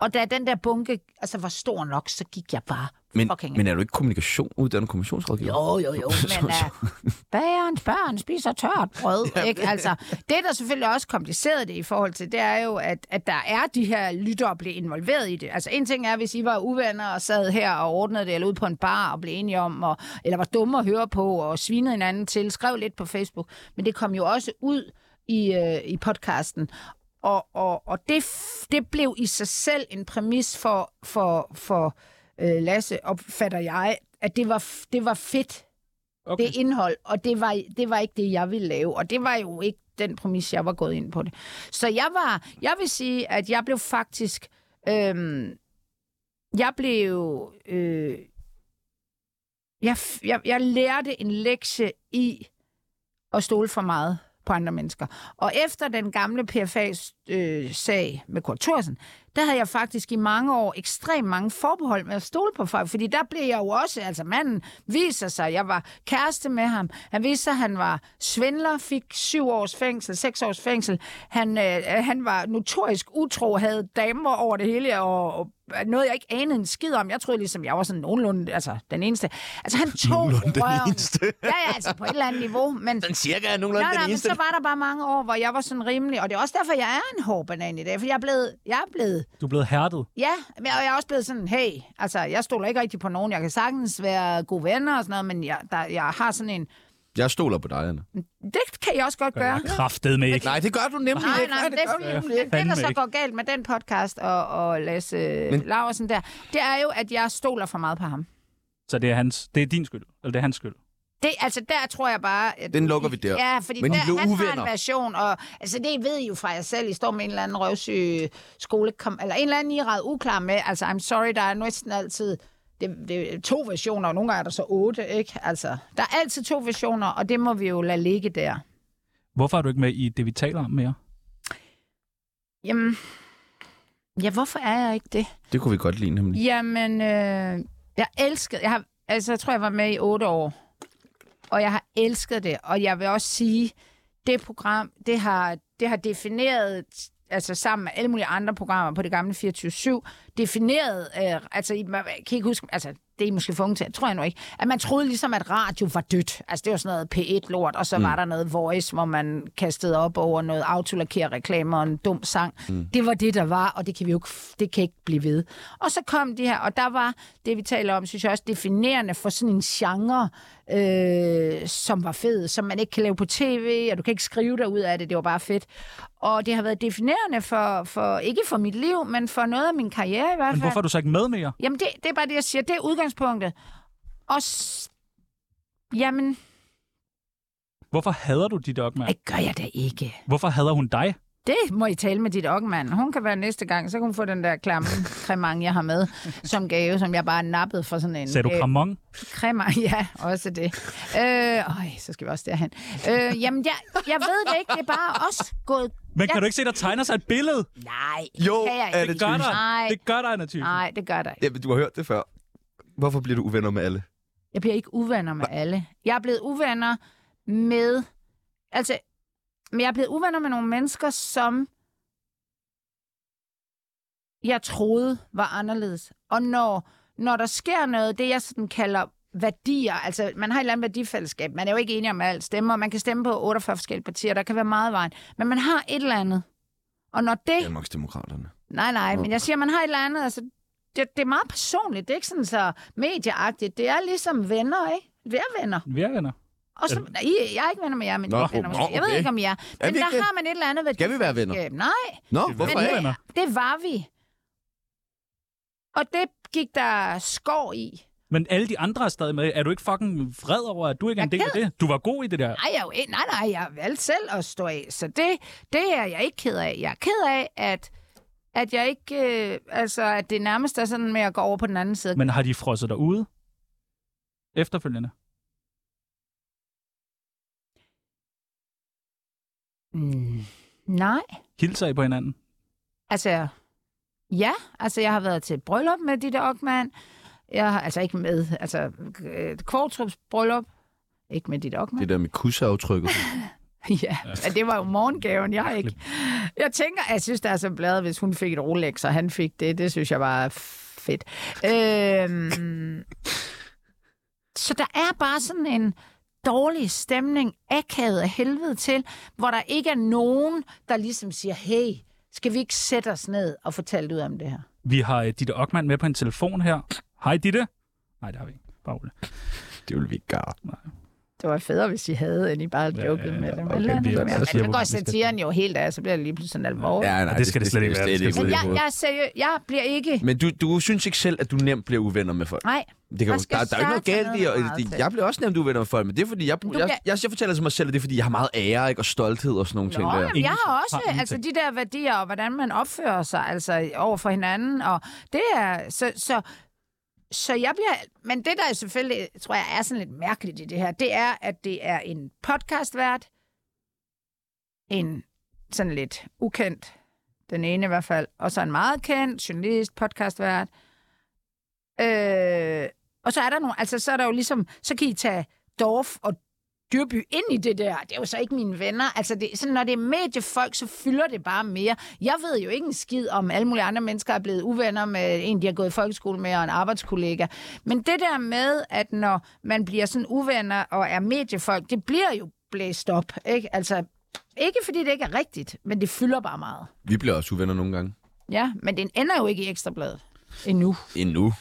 [SPEAKER 4] og da den der bunke altså, var stor nok, så gik jeg bare
[SPEAKER 1] men,
[SPEAKER 4] fucking...
[SPEAKER 1] men er du ikke kommunikation, uddannet kommunikationsrådgiver?
[SPEAKER 4] jo, jo, jo, men uh, bagerens børn spiser tørt brød, ikke? Altså, det, der selvfølgelig også kompliceret det i forhold til, det er jo, at, at der er de her lyttere blev involveret i det. Altså, en ting er, hvis I var uvenner og sad her og ordnede det, eller ude på en bar og blev enige om, og, eller var dumme at høre på og svinede hinanden til, skrev lidt på Facebook, men det kom jo også ud i, øh, i podcasten. Og, og, og det, f- det blev i sig selv en præmis for, for, for øh, Lasse, opfatter jeg, at det var, f- det var fedt,
[SPEAKER 3] okay.
[SPEAKER 4] okay. det indhold, og det var, det var ikke det, jeg ville lave, og det var jo ikke den præmis, jeg var gået ind på det. Så jeg var, jeg vil sige, at jeg blev faktisk, øhm, jeg blev, øh, jeg, f- jeg, jeg lærte en lektie i at stole for meget på andre mennesker. Og efter den gamle PFA-sag øh, med Kurt Thorsen, der havde jeg faktisk i mange år ekstremt mange forbehold med at stole på folk, fordi der blev jeg jo også, altså manden viser sig, jeg var kæreste med ham, han viste sig, at han var svindler, fik syv års fængsel, seks års fængsel, han, øh, han var notorisk utro, havde damer over det hele, og, og noget, jeg ikke anede en skid om. Jeg troede ligesom, jeg var sådan nogenlunde, altså den eneste. Altså han tog
[SPEAKER 1] Nogenlunde den
[SPEAKER 4] røven.
[SPEAKER 1] eneste.
[SPEAKER 4] Ja, ja, altså på et eller andet niveau, men...
[SPEAKER 1] Den cirka er nogenlunde
[SPEAKER 4] Nej, nej,
[SPEAKER 1] den
[SPEAKER 4] men
[SPEAKER 1] eneste.
[SPEAKER 4] så var der bare mange år, hvor jeg var sådan rimelig, og det er også derfor, jeg er en hård banan i dag, for jeg er blevet, jeg er blevet
[SPEAKER 3] Du er blevet hærdet.
[SPEAKER 4] Ja, men og jeg er også blevet sådan, hey, altså, jeg stoler ikke rigtig på nogen. Jeg kan sagtens være gode venner og sådan noget, men jeg, der, jeg har sådan en...
[SPEAKER 1] Jeg stoler på dig, Anna.
[SPEAKER 4] Det kan jeg også godt gøre.
[SPEAKER 3] Jeg kraftede med ikke.
[SPEAKER 1] Nej, det gør du nemlig
[SPEAKER 4] Nej,
[SPEAKER 1] ikke.
[SPEAKER 4] nej, men det,
[SPEAKER 1] gør
[SPEAKER 4] er
[SPEAKER 1] du
[SPEAKER 4] fordi,
[SPEAKER 1] ikke.
[SPEAKER 4] det, det, der
[SPEAKER 3] Fandme
[SPEAKER 4] så
[SPEAKER 3] ikke.
[SPEAKER 4] går galt med den podcast og, og Lasse men... Laversen der, det er jo, at jeg stoler for meget på ham.
[SPEAKER 3] Så det er, hans, det er din skyld. Eller det er hans skyld.
[SPEAKER 4] Det, altså, der tror jeg bare... At
[SPEAKER 1] Den lukker vi der.
[SPEAKER 4] Ja, fordi
[SPEAKER 1] Men
[SPEAKER 4] der,
[SPEAKER 1] I blev
[SPEAKER 4] han har
[SPEAKER 1] uvenner.
[SPEAKER 4] en version, og altså, det ved I jo fra jer selv. I står med en eller anden røvsyg skolekom... Eller en eller anden, I er ret uklar med. Altså, I'm sorry, der er næsten altid det, det er to versioner, og nogle gange er der så otte, ikke? Altså, der er altid to versioner, og det må vi jo lade ligge der.
[SPEAKER 3] Hvorfor er du ikke med i det, vi taler om mere?
[SPEAKER 4] Jamen, ja, hvorfor er jeg ikke det?
[SPEAKER 1] Det kunne vi godt lide, nemlig.
[SPEAKER 4] Jamen, øh, jeg elskede... Jeg har, altså, jeg tror, jeg var med i otte år. Og jeg har elsket det. Og jeg vil også sige, det program, det har, det har defineret, altså sammen med alle mulige andre programmer på det gamle 24-7, defineret, øh, altså, I- man kan ikke huske, altså, det er I måske for unge til, tror jeg nu ikke, at man troede ligesom, at radio var dødt. Altså, det var sådan noget P1-lort, og så mm. var der noget Voice, hvor man kastede op over noget autolakere-reklamer og en dum sang. Mm. Det var det, der var, og det kan vi jo ikke, det kan ikke blive ved. Og så kom de her, og der var det, vi taler om, synes jeg også definerende for sådan en genre, øh, som var fed, som man ikke kan lave på tv, og du kan ikke skrive dig ud af det, det var bare fedt. Og det har været definerende for, for ikke for mit liv, men for noget af min karriere i hvert fald.
[SPEAKER 3] Men hvorfor er du så ikke med mere?
[SPEAKER 4] Jamen, det, det er bare det, jeg siger. Det er udgangspunktet. Og s- jamen,
[SPEAKER 3] Hvorfor hader du dit dogma?
[SPEAKER 4] det gør jeg da ikke.
[SPEAKER 3] Hvorfor hader hun dig?
[SPEAKER 4] Det må I tale med dit Ockmann. Hun kan være næste gang, så kan hun få den der klamme cremant, jeg har med, som gave, som jeg bare nappede fra sådan en...
[SPEAKER 3] Sagde du
[SPEAKER 4] øh,
[SPEAKER 3] kramon?
[SPEAKER 4] Cremmer, ja, også det. Øh, øj, så skal vi også derhen. Øh, jamen, jeg, jeg ved det ikke. Det er bare også gået...
[SPEAKER 3] Men kan
[SPEAKER 4] Ja.
[SPEAKER 3] du ikke se, der tegner sig et billede?
[SPEAKER 4] Nej,
[SPEAKER 1] Jo,
[SPEAKER 4] kan jeg
[SPEAKER 1] er
[SPEAKER 4] ikke.
[SPEAKER 1] det
[SPEAKER 3] Gør der?
[SPEAKER 4] Nej,
[SPEAKER 3] Det gør der, Anna Thyssen.
[SPEAKER 4] nej, det gør der ikke.
[SPEAKER 1] Jamen, du har hørt det før. Hvorfor bliver du uvenner med alle?
[SPEAKER 4] Jeg bliver ikke uvenner med alle. Jeg er blevet uvenner med... Altså, men jeg er blevet uvenner med nogle mennesker, som jeg troede var anderledes. Og når, når der sker noget, det jeg sådan kalder værdier, altså man har et eller andet værdifællesskab, man er jo ikke enig om alt, stemmer, man kan stemme på 48 forskellige partier, der kan være meget i vejen, men man har et eller andet. Og når det
[SPEAKER 1] Danmarksdemokraterne.
[SPEAKER 4] Nej, nej, men jeg siger, man har et eller andet. Altså, det, det er meget personligt. Det er ikke sådan så medieagtigt. Det er ligesom venner, ikke? Vi er venner.
[SPEAKER 3] Vi er venner.
[SPEAKER 4] Og så, nej, I, jeg er ikke venner med jer, men
[SPEAKER 1] Nå,
[SPEAKER 4] Nå, I er venner
[SPEAKER 1] oh,
[SPEAKER 4] måske. Jeg ved
[SPEAKER 1] okay.
[SPEAKER 4] ikke, om I er.
[SPEAKER 1] Er
[SPEAKER 4] Men
[SPEAKER 1] vi
[SPEAKER 4] der
[SPEAKER 1] ikke det?
[SPEAKER 4] har man et eller andet værdi.
[SPEAKER 1] Skal vi være venner?
[SPEAKER 4] Nej,
[SPEAKER 1] Nå,
[SPEAKER 3] Det er
[SPEAKER 1] hvorfor
[SPEAKER 3] vi.
[SPEAKER 1] ikke?
[SPEAKER 3] venner?
[SPEAKER 4] det var vi. Og det gik der skår i.
[SPEAKER 3] Men alle de andre er stadig med. Er du ikke fucking vred over, at du ikke er en
[SPEAKER 4] Jeg
[SPEAKER 3] del
[SPEAKER 4] er
[SPEAKER 3] af det? Du var god i det der.
[SPEAKER 4] Nej, jeg, er jo ikke- nej, nej, jeg valgte selv at stå af. Så det, det er jeg ikke ked af. Jeg er ked af, at, at jeg ikke... Øh, altså, at det nærmest er sådan med at gå over på den anden side.
[SPEAKER 3] Men har de frosset dig ude? Efterfølgende.
[SPEAKER 4] Mm, nej.
[SPEAKER 3] Hilser I på hinanden?
[SPEAKER 4] Altså, ja. Altså, jeg har været til et bryllup med Ditte Ockmann. Jeg har altså ikke med, altså øh, Kvartrups bryllup. Ikke med Ditte Ockmann.
[SPEAKER 1] Det der med kusseaftrykket.
[SPEAKER 4] Ja, men det var jo morgengaven, jeg har ikke. Jeg tænker, jeg synes, det er så bladet, hvis hun fik et Rolex, og han fik det. Det synes jeg var fedt. Øhm, så der er bare sådan en dårlig stemning, akavet af helvede til, hvor der ikke er nogen, der ligesom siger, hey, skal vi ikke sætte os ned og fortælle ud om det her?
[SPEAKER 3] Vi har øh, Ditte Ockmann med på en telefon her. Hej Ditte. Nej, det har vi ikke. Bare rolig.
[SPEAKER 1] det vil vi ikke gøre.
[SPEAKER 4] Det var federe, hvis I havde, end I bare
[SPEAKER 3] Ja,
[SPEAKER 4] jokede
[SPEAKER 3] ja,
[SPEAKER 4] med
[SPEAKER 3] ja.
[SPEAKER 4] dem.
[SPEAKER 3] Okay,
[SPEAKER 4] Eller
[SPEAKER 3] vi er-
[SPEAKER 4] noget.
[SPEAKER 3] så
[SPEAKER 4] Altså,
[SPEAKER 3] siger
[SPEAKER 4] nu
[SPEAKER 3] vi,
[SPEAKER 4] går
[SPEAKER 3] at vi skal-
[SPEAKER 4] satiren jo helt af, så bliver det lige pludselig sådan alvorligt.
[SPEAKER 1] Ja, nej,
[SPEAKER 3] det skal det slet ikke være. Det skal
[SPEAKER 4] Men
[SPEAKER 1] slet
[SPEAKER 4] jeg,
[SPEAKER 1] ikke
[SPEAKER 4] jeg, er seriø- jeg bliver ikke...
[SPEAKER 1] Men du, du synes ikke selv, at du nemt bliver uvenner med folk?
[SPEAKER 4] Nej,
[SPEAKER 1] Det kan,
[SPEAKER 4] Man
[SPEAKER 1] jo-
[SPEAKER 4] skal
[SPEAKER 1] der, der er jo ikke noget
[SPEAKER 4] starte
[SPEAKER 1] galt i, og,
[SPEAKER 4] noget meget
[SPEAKER 1] det, jeg bliver også nemt uvenner med folk, men det er fordi, jeg, jeg,
[SPEAKER 4] du
[SPEAKER 1] jeg,
[SPEAKER 4] kan-
[SPEAKER 1] jeg, jeg fortæller til mig selv, at det er fordi, jeg har meget ære ikke, og stolthed og sådan nogle ting
[SPEAKER 4] Nå,
[SPEAKER 1] der.
[SPEAKER 4] jamen, jeg har
[SPEAKER 3] Ingen har
[SPEAKER 4] også
[SPEAKER 3] ingenting.
[SPEAKER 4] altså, de der værdier, og hvordan man opfører sig altså, over for hinanden. Og det er, så, så, så jeg bliver... Men det, der selvfølgelig, tror jeg, er sådan lidt mærkeligt i det her, det er, at det er en podcastvært, en sådan lidt ukendt, den ene i hvert fald, og så en meget kendt journalist, podcastvært. Øh, og så er der nogle, altså så er der jo ligesom, så kan I tage Dorf og Dyrby ind i det der. Det er jo så ikke mine venner. Altså, det, sådan, når det er mediefolk, så fylder det bare mere. Jeg ved jo ikke en skid om, alle mulige andre mennesker er blevet uvenner med en, de har gået i folkeskole med, og en arbejdskollega. Men det der med, at når man bliver sådan uvenner og er mediefolk, det bliver jo blæst op, ikke? Altså, ikke fordi det ikke er rigtigt, men det fylder bare meget.
[SPEAKER 1] Vi bliver også uvenner nogle gange.
[SPEAKER 4] Ja, men den ender jo ikke i ekstrabladet endnu.
[SPEAKER 1] Endnu.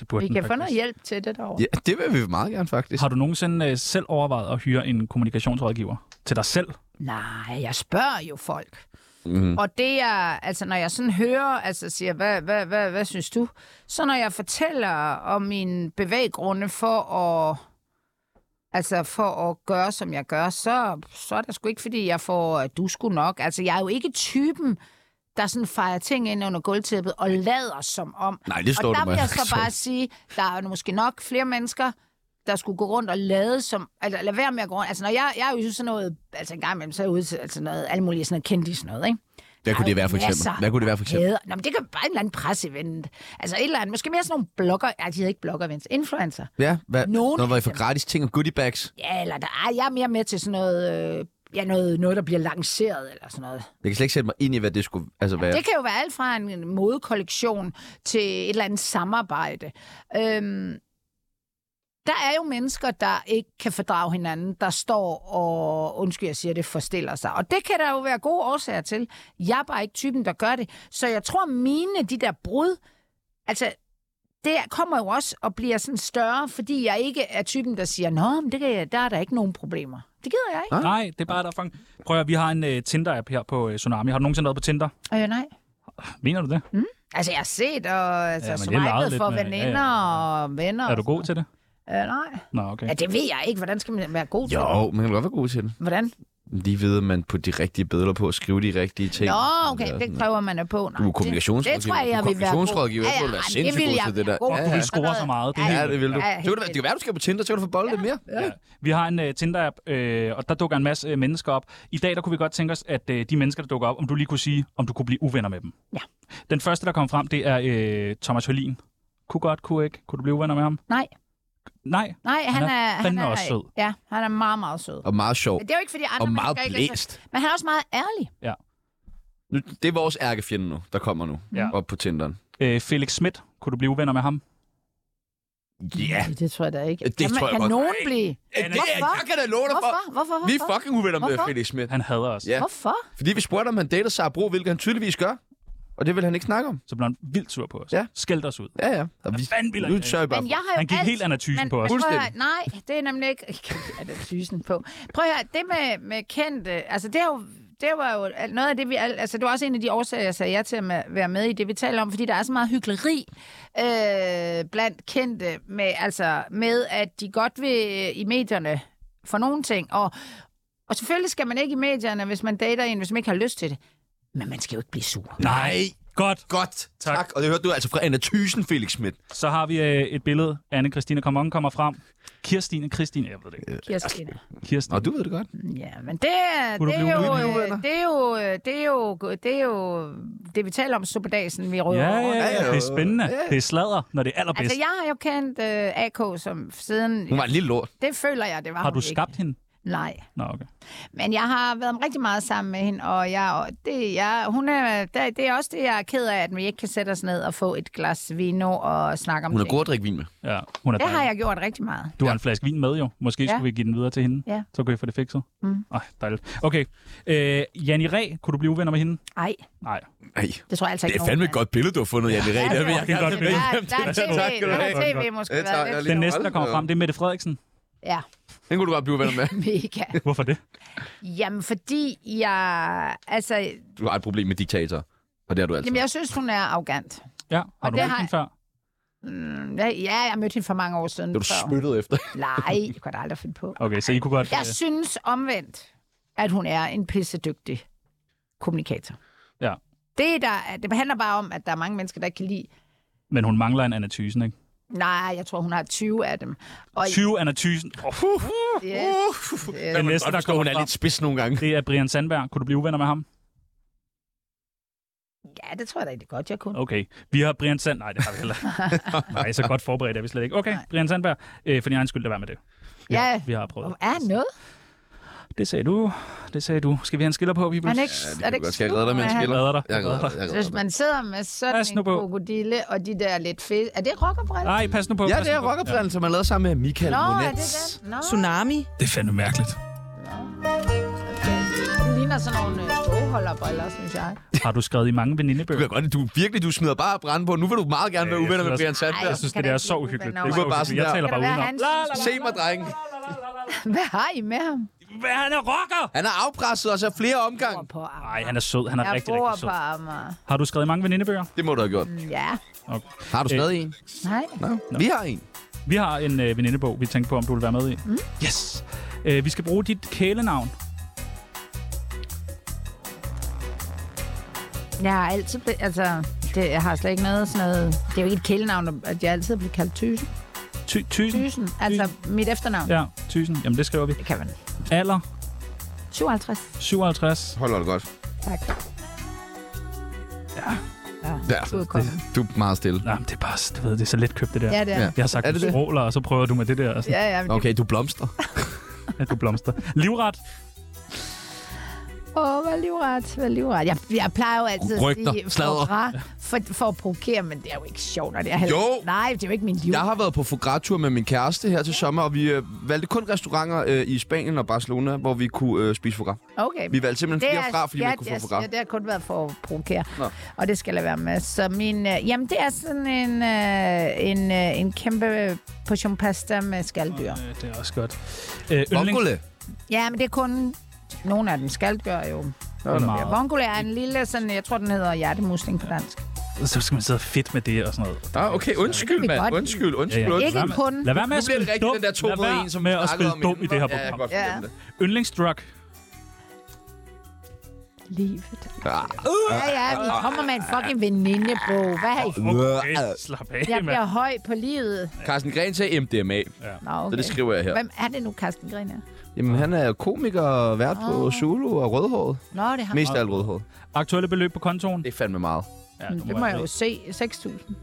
[SPEAKER 3] Det burde
[SPEAKER 4] Vi
[SPEAKER 3] den
[SPEAKER 4] kan få
[SPEAKER 3] faktisk.
[SPEAKER 4] noget hjælp til det derovre.
[SPEAKER 1] Ja, det vil vi meget gerne, faktisk.
[SPEAKER 3] Har du nogensinde øh, selv overvejet at hyre en kommunikationsrådgiver til dig selv?
[SPEAKER 4] Nej, jeg spørger jo folk.
[SPEAKER 1] Mhm.
[SPEAKER 4] Mm. Og det er, altså når jeg sådan hører, altså siger, hvad, hvad, hvad, hvad synes du? Så når jeg fortæller om mine bevæggrunde for at, altså for at gøre, som jeg gør, så, så er det sgu ikke, fordi jeg får, at du skulle nok. Altså jeg er jo ikke typen, der sådan fejrer ting ind under gulvtæppet og lader som om.
[SPEAKER 1] Nej, det slår
[SPEAKER 4] og
[SPEAKER 1] du
[SPEAKER 4] der
[SPEAKER 1] mig
[SPEAKER 4] vil jeg så
[SPEAKER 1] for.
[SPEAKER 4] bare sige, der er jo måske nok flere mennesker, der skulle gå rundt og lade som... Altså, lad være med at gå rundt. Altså, når jeg, jeg er jo i sådan noget... Altså, en gang imellem, så er jeg ude til altså noget, alle mulige sådan noget kendis sådan noget, ikke?
[SPEAKER 1] Hvad kunne det være for eksempel?
[SPEAKER 4] Masser
[SPEAKER 1] Hvad kunne det være for eksempel?
[SPEAKER 4] Kæder. Nå, men det kan bare en eller anden presseevent. Altså, et eller andet. Måske mere sådan nogle blogger... Ja, de hedder ikke bloggerevents. Influencer.
[SPEAKER 1] Ja, hvad?
[SPEAKER 4] Nogen
[SPEAKER 1] Når var I
[SPEAKER 4] af
[SPEAKER 1] for
[SPEAKER 4] dem.
[SPEAKER 1] gratis ting og goodie bags?
[SPEAKER 4] Ja, eller der, ej, jeg er mere med til sådan noget øh, ja, noget, noget, der bliver lanceret eller sådan noget.
[SPEAKER 1] Jeg kan slet ikke sætte mig ind i, hvad det skulle altså være.
[SPEAKER 4] Det kan jo være alt fra en modekollektion til et eller andet samarbejde. Øhm, der er jo mennesker, der ikke kan fordrage hinanden, der står og, undskyld, jeg siger det, forstiller sig. Og det kan der jo være gode årsager til. Jeg er bare ikke typen, der gør det. Så jeg tror, mine, de der brud, altså, det kommer jo også og bliver sådan større, fordi jeg ikke er typen, der siger, nå, men det kan jeg, der er der ikke nogen problemer. Det gider jeg ikke.
[SPEAKER 3] Nej, det er bare der er fang. Prøv at høre, vi har en uh, Tinder-app her på uh, Tsunami. Har du nogensinde været på Tinder?
[SPEAKER 4] Og jeg, nej.
[SPEAKER 3] Mener du det?
[SPEAKER 4] Altså, jeg har set og altså,
[SPEAKER 3] Ja,
[SPEAKER 4] ja,
[SPEAKER 3] men det er leget
[SPEAKER 4] swipet
[SPEAKER 3] lidt
[SPEAKER 4] for
[SPEAKER 3] med-
[SPEAKER 4] veninder
[SPEAKER 3] ja,
[SPEAKER 4] og venner.
[SPEAKER 3] Er du god til det?
[SPEAKER 4] Øh, nej.
[SPEAKER 3] Nå, okay.
[SPEAKER 4] Ja, det ved jeg ikke. Hvordan skal man være god til det?
[SPEAKER 1] Jo, man kan godt være god til det.
[SPEAKER 4] Hvordan?
[SPEAKER 1] Lige ved, at man på de rigtige billeder på, skrive de rigtige ting.
[SPEAKER 4] Nå, okay,
[SPEAKER 1] Ja,
[SPEAKER 4] det kræver man er på. Nej,
[SPEAKER 1] Du er
[SPEAKER 4] det-
[SPEAKER 1] kommunikationsrådgiver.
[SPEAKER 4] Det tror jeg,
[SPEAKER 1] Du er
[SPEAKER 4] jeg vil være
[SPEAKER 1] kommunikationsrådgiver. Jeg tror, du er
[SPEAKER 4] det
[SPEAKER 1] sindssygt
[SPEAKER 4] vil
[SPEAKER 1] god
[SPEAKER 4] jeg
[SPEAKER 1] til det
[SPEAKER 4] være
[SPEAKER 1] der.
[SPEAKER 4] god
[SPEAKER 1] Ja,
[SPEAKER 4] til.
[SPEAKER 1] ja.
[SPEAKER 3] Du scorer så meget, det er
[SPEAKER 4] Ja,
[SPEAKER 1] Ja,
[SPEAKER 3] helt
[SPEAKER 1] det vil du.
[SPEAKER 4] Ja,
[SPEAKER 1] Så kan det, det kan være, du skal på Tinder, så kan du få boldet lidt mere. Ja.
[SPEAKER 3] Vi har en uh, Tinder-app, øh, og der dukker en masse øh, mennesker op. I dag der kunne vi godt tænke os, at øh, de mennesker, der dukker op, om du lige kunne sige, om du kunne blive uvenner med dem.
[SPEAKER 4] Ja.
[SPEAKER 3] Den første, der kom frem, det er øh, Thomas Hølin. Kunne godt, kunne ikke. Kunne du blive uvenner med ham?
[SPEAKER 4] Nej,
[SPEAKER 3] Nej.
[SPEAKER 4] nej, han,
[SPEAKER 3] Han er
[SPEAKER 4] er... Han
[SPEAKER 3] fandme
[SPEAKER 4] er,
[SPEAKER 3] også sød.
[SPEAKER 4] Ja, han er meget, meget sød.
[SPEAKER 1] Og meget sjov.
[SPEAKER 4] Men det er jo ikke, fordi andre
[SPEAKER 1] Og meget
[SPEAKER 4] mennesker Altså, ikke er så-
[SPEAKER 1] blæst.
[SPEAKER 4] Men han er også meget ærlig.
[SPEAKER 1] Nu, det er vores ærkefjende nu, der kommer nu.
[SPEAKER 3] Ja.
[SPEAKER 1] Op på Tinderen.
[SPEAKER 3] Øh, Felix Schmidt. Kunne du blive uvenner med ham?
[SPEAKER 1] Ja.
[SPEAKER 4] Det tror jeg da ikke.
[SPEAKER 1] Det tror jeg
[SPEAKER 4] kan
[SPEAKER 1] godt.
[SPEAKER 4] nogen blive?
[SPEAKER 1] Yeah. Det er,
[SPEAKER 4] Hvorfor?
[SPEAKER 1] jeg kan da love dig for.
[SPEAKER 4] Hvorfor? Hvorfor? Hvorfor?
[SPEAKER 1] Vi er fucking uvenner med
[SPEAKER 4] Hvorfor?
[SPEAKER 1] Felix Schmidt.
[SPEAKER 3] Han hader os.
[SPEAKER 1] Ja.
[SPEAKER 4] Hvorfor?
[SPEAKER 1] Fordi vi spurgte, om han dater Sara Bro, hvilket han tydeligvis gør. Og det vil han ikke snakke om.
[SPEAKER 3] Så blev han vildt sur på os.
[SPEAKER 1] Ja.
[SPEAKER 3] Skældte os ud.
[SPEAKER 1] Ja, ja. Og vi,
[SPEAKER 3] fanden vil han
[SPEAKER 1] nu
[SPEAKER 3] ikke?
[SPEAKER 1] tør jeg bare.
[SPEAKER 4] Men jeg har jo
[SPEAKER 3] Han gik
[SPEAKER 4] alt...
[SPEAKER 3] helt anatysen på os.
[SPEAKER 4] prøv at høre,
[SPEAKER 1] Fuldstændig.
[SPEAKER 4] nej, det er nemlig ikke... er der tysen på? Prøv at høre, det med, med kendte, altså det er jo det var jo al- noget af det, vi... al- Altså, det var også en af de årsager, jeg sagde ja til at ma- være med i det, vi taler om, fordi der er så meget hyggeleri øh, blandt kendte med, altså, med, at de godt vil øh, i medierne for nogle ting. Og, og selvfølgelig skal man ikke i medierne, hvis man dater en, hvis man ikke har lyst til det. Men man skal jo ikke blive sur.
[SPEAKER 3] Nej. Godt.
[SPEAKER 1] Godt.
[SPEAKER 3] Tak.
[SPEAKER 1] Tak. tak. Og det hørte du altså fra Anna Thysen, Felix Schmidt.
[SPEAKER 3] Så har vi øh, et billede. anne Christine Komon kommer frem. Kirstine, Christine, jeg ved det ikke.
[SPEAKER 4] Kirsten.
[SPEAKER 3] Kirstine.
[SPEAKER 1] Nå, du ved det godt.
[SPEAKER 4] Ja, men det, er-
[SPEAKER 3] Kunne
[SPEAKER 4] det,
[SPEAKER 3] du
[SPEAKER 4] er
[SPEAKER 3] blive
[SPEAKER 4] jo,
[SPEAKER 3] uenig,
[SPEAKER 4] øh, det er jo, øh, det er jo, det er jo, det vi taler om, superdagsen, vi røver
[SPEAKER 3] Ja,
[SPEAKER 4] rundt.
[SPEAKER 3] ja, ja,
[SPEAKER 1] Ja,
[SPEAKER 3] det
[SPEAKER 1] ja.
[SPEAKER 3] er spændende. Det er sladder, når det er allerbedst.
[SPEAKER 4] Altså, jeg har jo kendt øh, AK som siden,
[SPEAKER 1] Hun var en lille lort.
[SPEAKER 4] det føler jeg, det var
[SPEAKER 3] Har
[SPEAKER 4] hun
[SPEAKER 3] du skabt hende?
[SPEAKER 4] Ikke. Nej,
[SPEAKER 3] Nå, okay.
[SPEAKER 4] men jeg har været rigtig meget sammen med hende, og, jeg, og det, jeg, hun er, det, det er også det, jeg er ked af, at vi ikke kan sætte os ned og få et glas vino og snakke om
[SPEAKER 1] Hun er
[SPEAKER 4] ting.
[SPEAKER 1] god at drikke vin med.
[SPEAKER 3] Ja, hun er
[SPEAKER 4] Det har
[SPEAKER 3] dejlig.
[SPEAKER 4] jeg gjort rigtig meget.
[SPEAKER 3] Du har en flaske vin med jo. Måske ja.
[SPEAKER 4] Ja.
[SPEAKER 3] skulle vi give den videre til hende.
[SPEAKER 4] Ja.
[SPEAKER 3] Så kan vi få det fikset.
[SPEAKER 4] Mm.
[SPEAKER 3] Ej, dejligt. Okay. Øh, Janni Ræ, kunne du blive uvenner med hende?
[SPEAKER 4] Nej,
[SPEAKER 3] Nej.
[SPEAKER 1] Ej,
[SPEAKER 4] det tror jeg altså
[SPEAKER 1] det
[SPEAKER 4] ikke.
[SPEAKER 1] er
[SPEAKER 4] nogen
[SPEAKER 1] fandme
[SPEAKER 4] kan.
[SPEAKER 1] et godt billede, du har fundet, Janne Ræ.
[SPEAKER 4] Ja,
[SPEAKER 1] Det
[SPEAKER 4] det
[SPEAKER 1] vil
[SPEAKER 4] er
[SPEAKER 1] jeg gerne
[SPEAKER 3] godt
[SPEAKER 4] Der,
[SPEAKER 1] have.
[SPEAKER 3] billede.
[SPEAKER 4] der er
[SPEAKER 1] Tak
[SPEAKER 4] tv,
[SPEAKER 1] skal du
[SPEAKER 4] der
[SPEAKER 1] have.
[SPEAKER 4] er tv måske
[SPEAKER 1] Det tager
[SPEAKER 4] været
[SPEAKER 1] jeg
[SPEAKER 4] lidt.
[SPEAKER 1] lige.
[SPEAKER 3] Den næste, der kommer
[SPEAKER 1] hold da
[SPEAKER 3] frem, det er Mette Frederiksen.
[SPEAKER 4] Ja,
[SPEAKER 1] Den kunne du godt blive venner med.
[SPEAKER 4] mega.
[SPEAKER 3] Hvorfor det?
[SPEAKER 4] Jamen, fordi jeg... Altså, jamen,
[SPEAKER 1] Du har et problem med diktatorer. Og det har du altså. altid.
[SPEAKER 4] jeg synes, hun er arrogant.
[SPEAKER 3] Ja, har
[SPEAKER 4] Og
[SPEAKER 3] du
[SPEAKER 4] det
[SPEAKER 3] mødt
[SPEAKER 4] har
[SPEAKER 3] hende før?
[SPEAKER 4] Mm, ja, ja, jeg mødte hende for mange år siden.
[SPEAKER 1] Det er du
[SPEAKER 4] før.
[SPEAKER 1] spyttet efter.
[SPEAKER 4] Nej, det kunne jeg da aldrig finde på.
[SPEAKER 3] Okay, så I kunne godt...
[SPEAKER 4] Jeg synes omvendt, at hun er en pissedygtig kommunikator.
[SPEAKER 3] Ja.
[SPEAKER 4] Det, der, er- det handler bare om, at der er mange mennesker, der ikke kan lide...
[SPEAKER 3] øh, Men hun mangler en anatysen, ikke?
[SPEAKER 4] Nej, jeg tror, hun har 20 af dem. Og
[SPEAKER 3] 20 anatysen. Oh, uh,
[SPEAKER 4] yes,
[SPEAKER 1] Den
[SPEAKER 3] næste, der
[SPEAKER 1] hun
[SPEAKER 3] kommer
[SPEAKER 1] er
[SPEAKER 3] frem.
[SPEAKER 1] lidt spids nogle gange.
[SPEAKER 3] det er Brian Sandberg. Kunne du blive uvenner med ham?
[SPEAKER 4] ja, det tror jeg da egentlig godt, jeg kunne.
[SPEAKER 3] Okay. Vi har Brian Sand... Nej, det har vi heller ikke. Nej, så godt forberedt er vi slet ikke. Okay, Brian Sandberg. Øh, for din egen skyld, lad være med det. Vi har-
[SPEAKER 4] Ja.
[SPEAKER 3] Vi har prøvet.
[SPEAKER 4] Hvor Er han noget?
[SPEAKER 3] Det sagde du. Det sagde du. Skal vi have en skiller på,
[SPEAKER 4] Er
[SPEAKER 3] Bibel?
[SPEAKER 4] han ikke,
[SPEAKER 1] Ja, det
[SPEAKER 4] er
[SPEAKER 1] kan
[SPEAKER 4] det
[SPEAKER 1] du
[SPEAKER 4] ikke
[SPEAKER 1] godt. Skal jeg redde dig med en
[SPEAKER 4] slut?
[SPEAKER 1] skiller?
[SPEAKER 3] redder dig.
[SPEAKER 1] Jeg
[SPEAKER 3] Jeg
[SPEAKER 1] redder
[SPEAKER 3] redder
[SPEAKER 1] dig. Jeg
[SPEAKER 4] Så
[SPEAKER 1] redder
[SPEAKER 4] Hvis
[SPEAKER 1] dig.
[SPEAKER 4] man sidder med
[SPEAKER 3] Pas
[SPEAKER 4] sådan
[SPEAKER 3] nu
[SPEAKER 4] en
[SPEAKER 3] på.
[SPEAKER 4] krokodille og de der lidt fedt... Er det rockerbriller?
[SPEAKER 3] Nej, pas nu på.
[SPEAKER 1] Ja,
[SPEAKER 3] pas
[SPEAKER 1] det er
[SPEAKER 3] nu på.
[SPEAKER 1] rockerbrillen, som man lavede sammen med Michael
[SPEAKER 4] Nå, er det
[SPEAKER 1] Monets.
[SPEAKER 4] den? Nå,
[SPEAKER 6] Tsunami.
[SPEAKER 3] Det er fandme mærkeligt.
[SPEAKER 4] den ligner sådan nogle øh, bogholderbriller, synes jeg.
[SPEAKER 3] Har du skrevet i mange
[SPEAKER 1] Du
[SPEAKER 3] venindebøger?
[SPEAKER 1] kan godt, du virkelig, du smider bare brand på. Nu vil du meget gerne være
[SPEAKER 3] Ja, jeg
[SPEAKER 1] uvenner med
[SPEAKER 3] synes
[SPEAKER 1] Brian
[SPEAKER 3] også-
[SPEAKER 1] Sandberg.
[SPEAKER 3] Jeg synes, det der er så uhyggeligt. Det er
[SPEAKER 4] Du
[SPEAKER 3] så
[SPEAKER 1] var bare
[SPEAKER 3] uhyggeligt. Jeg
[SPEAKER 1] sådan
[SPEAKER 3] taler
[SPEAKER 4] der.
[SPEAKER 3] bare
[SPEAKER 4] Kan det være, han
[SPEAKER 3] udenom. La,
[SPEAKER 4] synes-
[SPEAKER 3] la, la.
[SPEAKER 1] Se mig, drenge.
[SPEAKER 4] Hvad har I med ham?
[SPEAKER 3] Hvad, han er rocker!
[SPEAKER 1] Han har afpresset os af flere omgange.
[SPEAKER 4] Bor på Amager.
[SPEAKER 3] Nej, han er sød. Han er
[SPEAKER 4] Jeg
[SPEAKER 3] rigtig,
[SPEAKER 4] bor
[SPEAKER 3] rigtig sød.
[SPEAKER 4] på Amager.
[SPEAKER 3] Har du skrevet i mange venindebøger?
[SPEAKER 1] Det må du have gjort.
[SPEAKER 4] Ja,
[SPEAKER 3] Okay.
[SPEAKER 1] Har du stadig en?
[SPEAKER 4] nej.
[SPEAKER 1] Nå. Vi har en.
[SPEAKER 3] Vi har en øh, venindebog, vi tænkte på, om du vil være med i. Mm. Yes! Øh, vi skal bruge dit kælenavn.
[SPEAKER 4] Jeg har altid ble- altså, det, jeg har slet ikke noget sådan noget... Det er jo ikke et kælenavn, at jeg altid bliver kaldt Thysen.
[SPEAKER 3] Ty- tysen?
[SPEAKER 4] Thysen, altså mit efternavn.
[SPEAKER 3] Ja, tysen. Jamen, det skriver vi.
[SPEAKER 4] Det kan man.
[SPEAKER 3] Alder?
[SPEAKER 4] 57.
[SPEAKER 3] 57.
[SPEAKER 1] Hold det godt.
[SPEAKER 4] Tak.
[SPEAKER 3] Altså,
[SPEAKER 4] Ja.
[SPEAKER 1] Ja.
[SPEAKER 4] Du er kommet.
[SPEAKER 1] Du er meget stille.
[SPEAKER 3] Nej, men det er bare, s- du ved, det er så letkøbt, det der.
[SPEAKER 4] Ja, det er.
[SPEAKER 3] Jeg har sagt,
[SPEAKER 1] Er
[SPEAKER 3] du
[SPEAKER 1] det det?
[SPEAKER 3] stråler, og så prøver du med det der, og sådan,
[SPEAKER 4] Ja, ja, men det
[SPEAKER 1] Okay, du blomstrer.
[SPEAKER 3] at du blomster. Livret?
[SPEAKER 4] Åh, oh, hvad livret, hvad livret. Jeg, jeg plejer jo altid
[SPEAKER 1] Rygter,
[SPEAKER 4] at sige
[SPEAKER 1] sladder.
[SPEAKER 4] fra, for, for at provokere, men det er jo ikke sjovt, og det er heller,
[SPEAKER 1] Jo.
[SPEAKER 4] Nej, det er jo ikke min liv.
[SPEAKER 1] Jeg har været på fogratur med min kæreste her til sommer, og vi øh, valgte kun restauranter øh, i Spanien og Barcelona, hvor vi kunne øh, spise fogra.
[SPEAKER 4] Okay.
[SPEAKER 1] Vi valgte simpelthen flere fra, fordi
[SPEAKER 4] ja,
[SPEAKER 1] vi ikke kunne få
[SPEAKER 4] det er-
[SPEAKER 1] program.
[SPEAKER 4] Ja, det har kun været for at provokere,
[SPEAKER 1] Nå.
[SPEAKER 4] Nå. og det skal jeg lade være med. Så min, øh, jamen, det er sådan en, øh, en, øh, en kæmpe portion pasta med skaldyr.
[SPEAKER 3] Øh, det er også godt. Øh, yndlings...
[SPEAKER 1] Mongole.
[SPEAKER 4] Ja, men det er kun... Nogle af dem skaldyr jo.
[SPEAKER 3] Nå, nå.
[SPEAKER 4] Vongole er en lille, sådan, jeg tror, den hedder hjertemusling på dansk.
[SPEAKER 3] Så skal man sidde fedt med det og sådan noget.
[SPEAKER 1] Ah, okay, undskyld,
[SPEAKER 4] Det kan vi
[SPEAKER 1] mand.
[SPEAKER 4] godt.
[SPEAKER 1] Undskyld, undskyld.
[SPEAKER 3] Ja, ja.
[SPEAKER 1] undskyld.
[SPEAKER 4] Ikke
[SPEAKER 3] Lad
[SPEAKER 4] en
[SPEAKER 3] være-
[SPEAKER 4] kunde.
[SPEAKER 3] Lad være med
[SPEAKER 1] Nu
[SPEAKER 3] at
[SPEAKER 1] bliver
[SPEAKER 3] spille
[SPEAKER 1] det rigtig
[SPEAKER 3] dum.
[SPEAKER 1] den der 2
[SPEAKER 3] Lad
[SPEAKER 1] mod
[SPEAKER 3] være
[SPEAKER 1] 1, som
[SPEAKER 3] med
[SPEAKER 1] vi
[SPEAKER 3] at
[SPEAKER 1] snakkede
[SPEAKER 3] spille
[SPEAKER 1] om
[SPEAKER 3] dum i det her
[SPEAKER 1] Ja, jeg kan
[SPEAKER 3] program.
[SPEAKER 1] godt fornemme
[SPEAKER 4] Ja.
[SPEAKER 1] det.
[SPEAKER 3] Yndlingsdrug.
[SPEAKER 4] Livet.
[SPEAKER 1] Ah,
[SPEAKER 4] Ja, ja, vi kommer med en fucking venindebog. Hvad har I f-
[SPEAKER 3] Okay, slap
[SPEAKER 4] Jeg
[SPEAKER 3] af,
[SPEAKER 4] bliver
[SPEAKER 3] mand.
[SPEAKER 4] høj på livet.
[SPEAKER 1] Carsten Gren sagde MDMA,
[SPEAKER 4] Nå,
[SPEAKER 1] så
[SPEAKER 4] okay.
[SPEAKER 1] det skriver jeg her.
[SPEAKER 4] Hvem er det nu, Carsten Griner?
[SPEAKER 1] Jamen, han er komiker og vært på
[SPEAKER 4] Ah.
[SPEAKER 1] Zulu og rødhåret.
[SPEAKER 4] Nå, det har
[SPEAKER 1] Mest af alt rødhåret.
[SPEAKER 3] Aktuelle beløb på kontoen?
[SPEAKER 1] Det er fandme meget.
[SPEAKER 3] Ja,
[SPEAKER 4] Men Mm, Det må jeg jo se. 6.000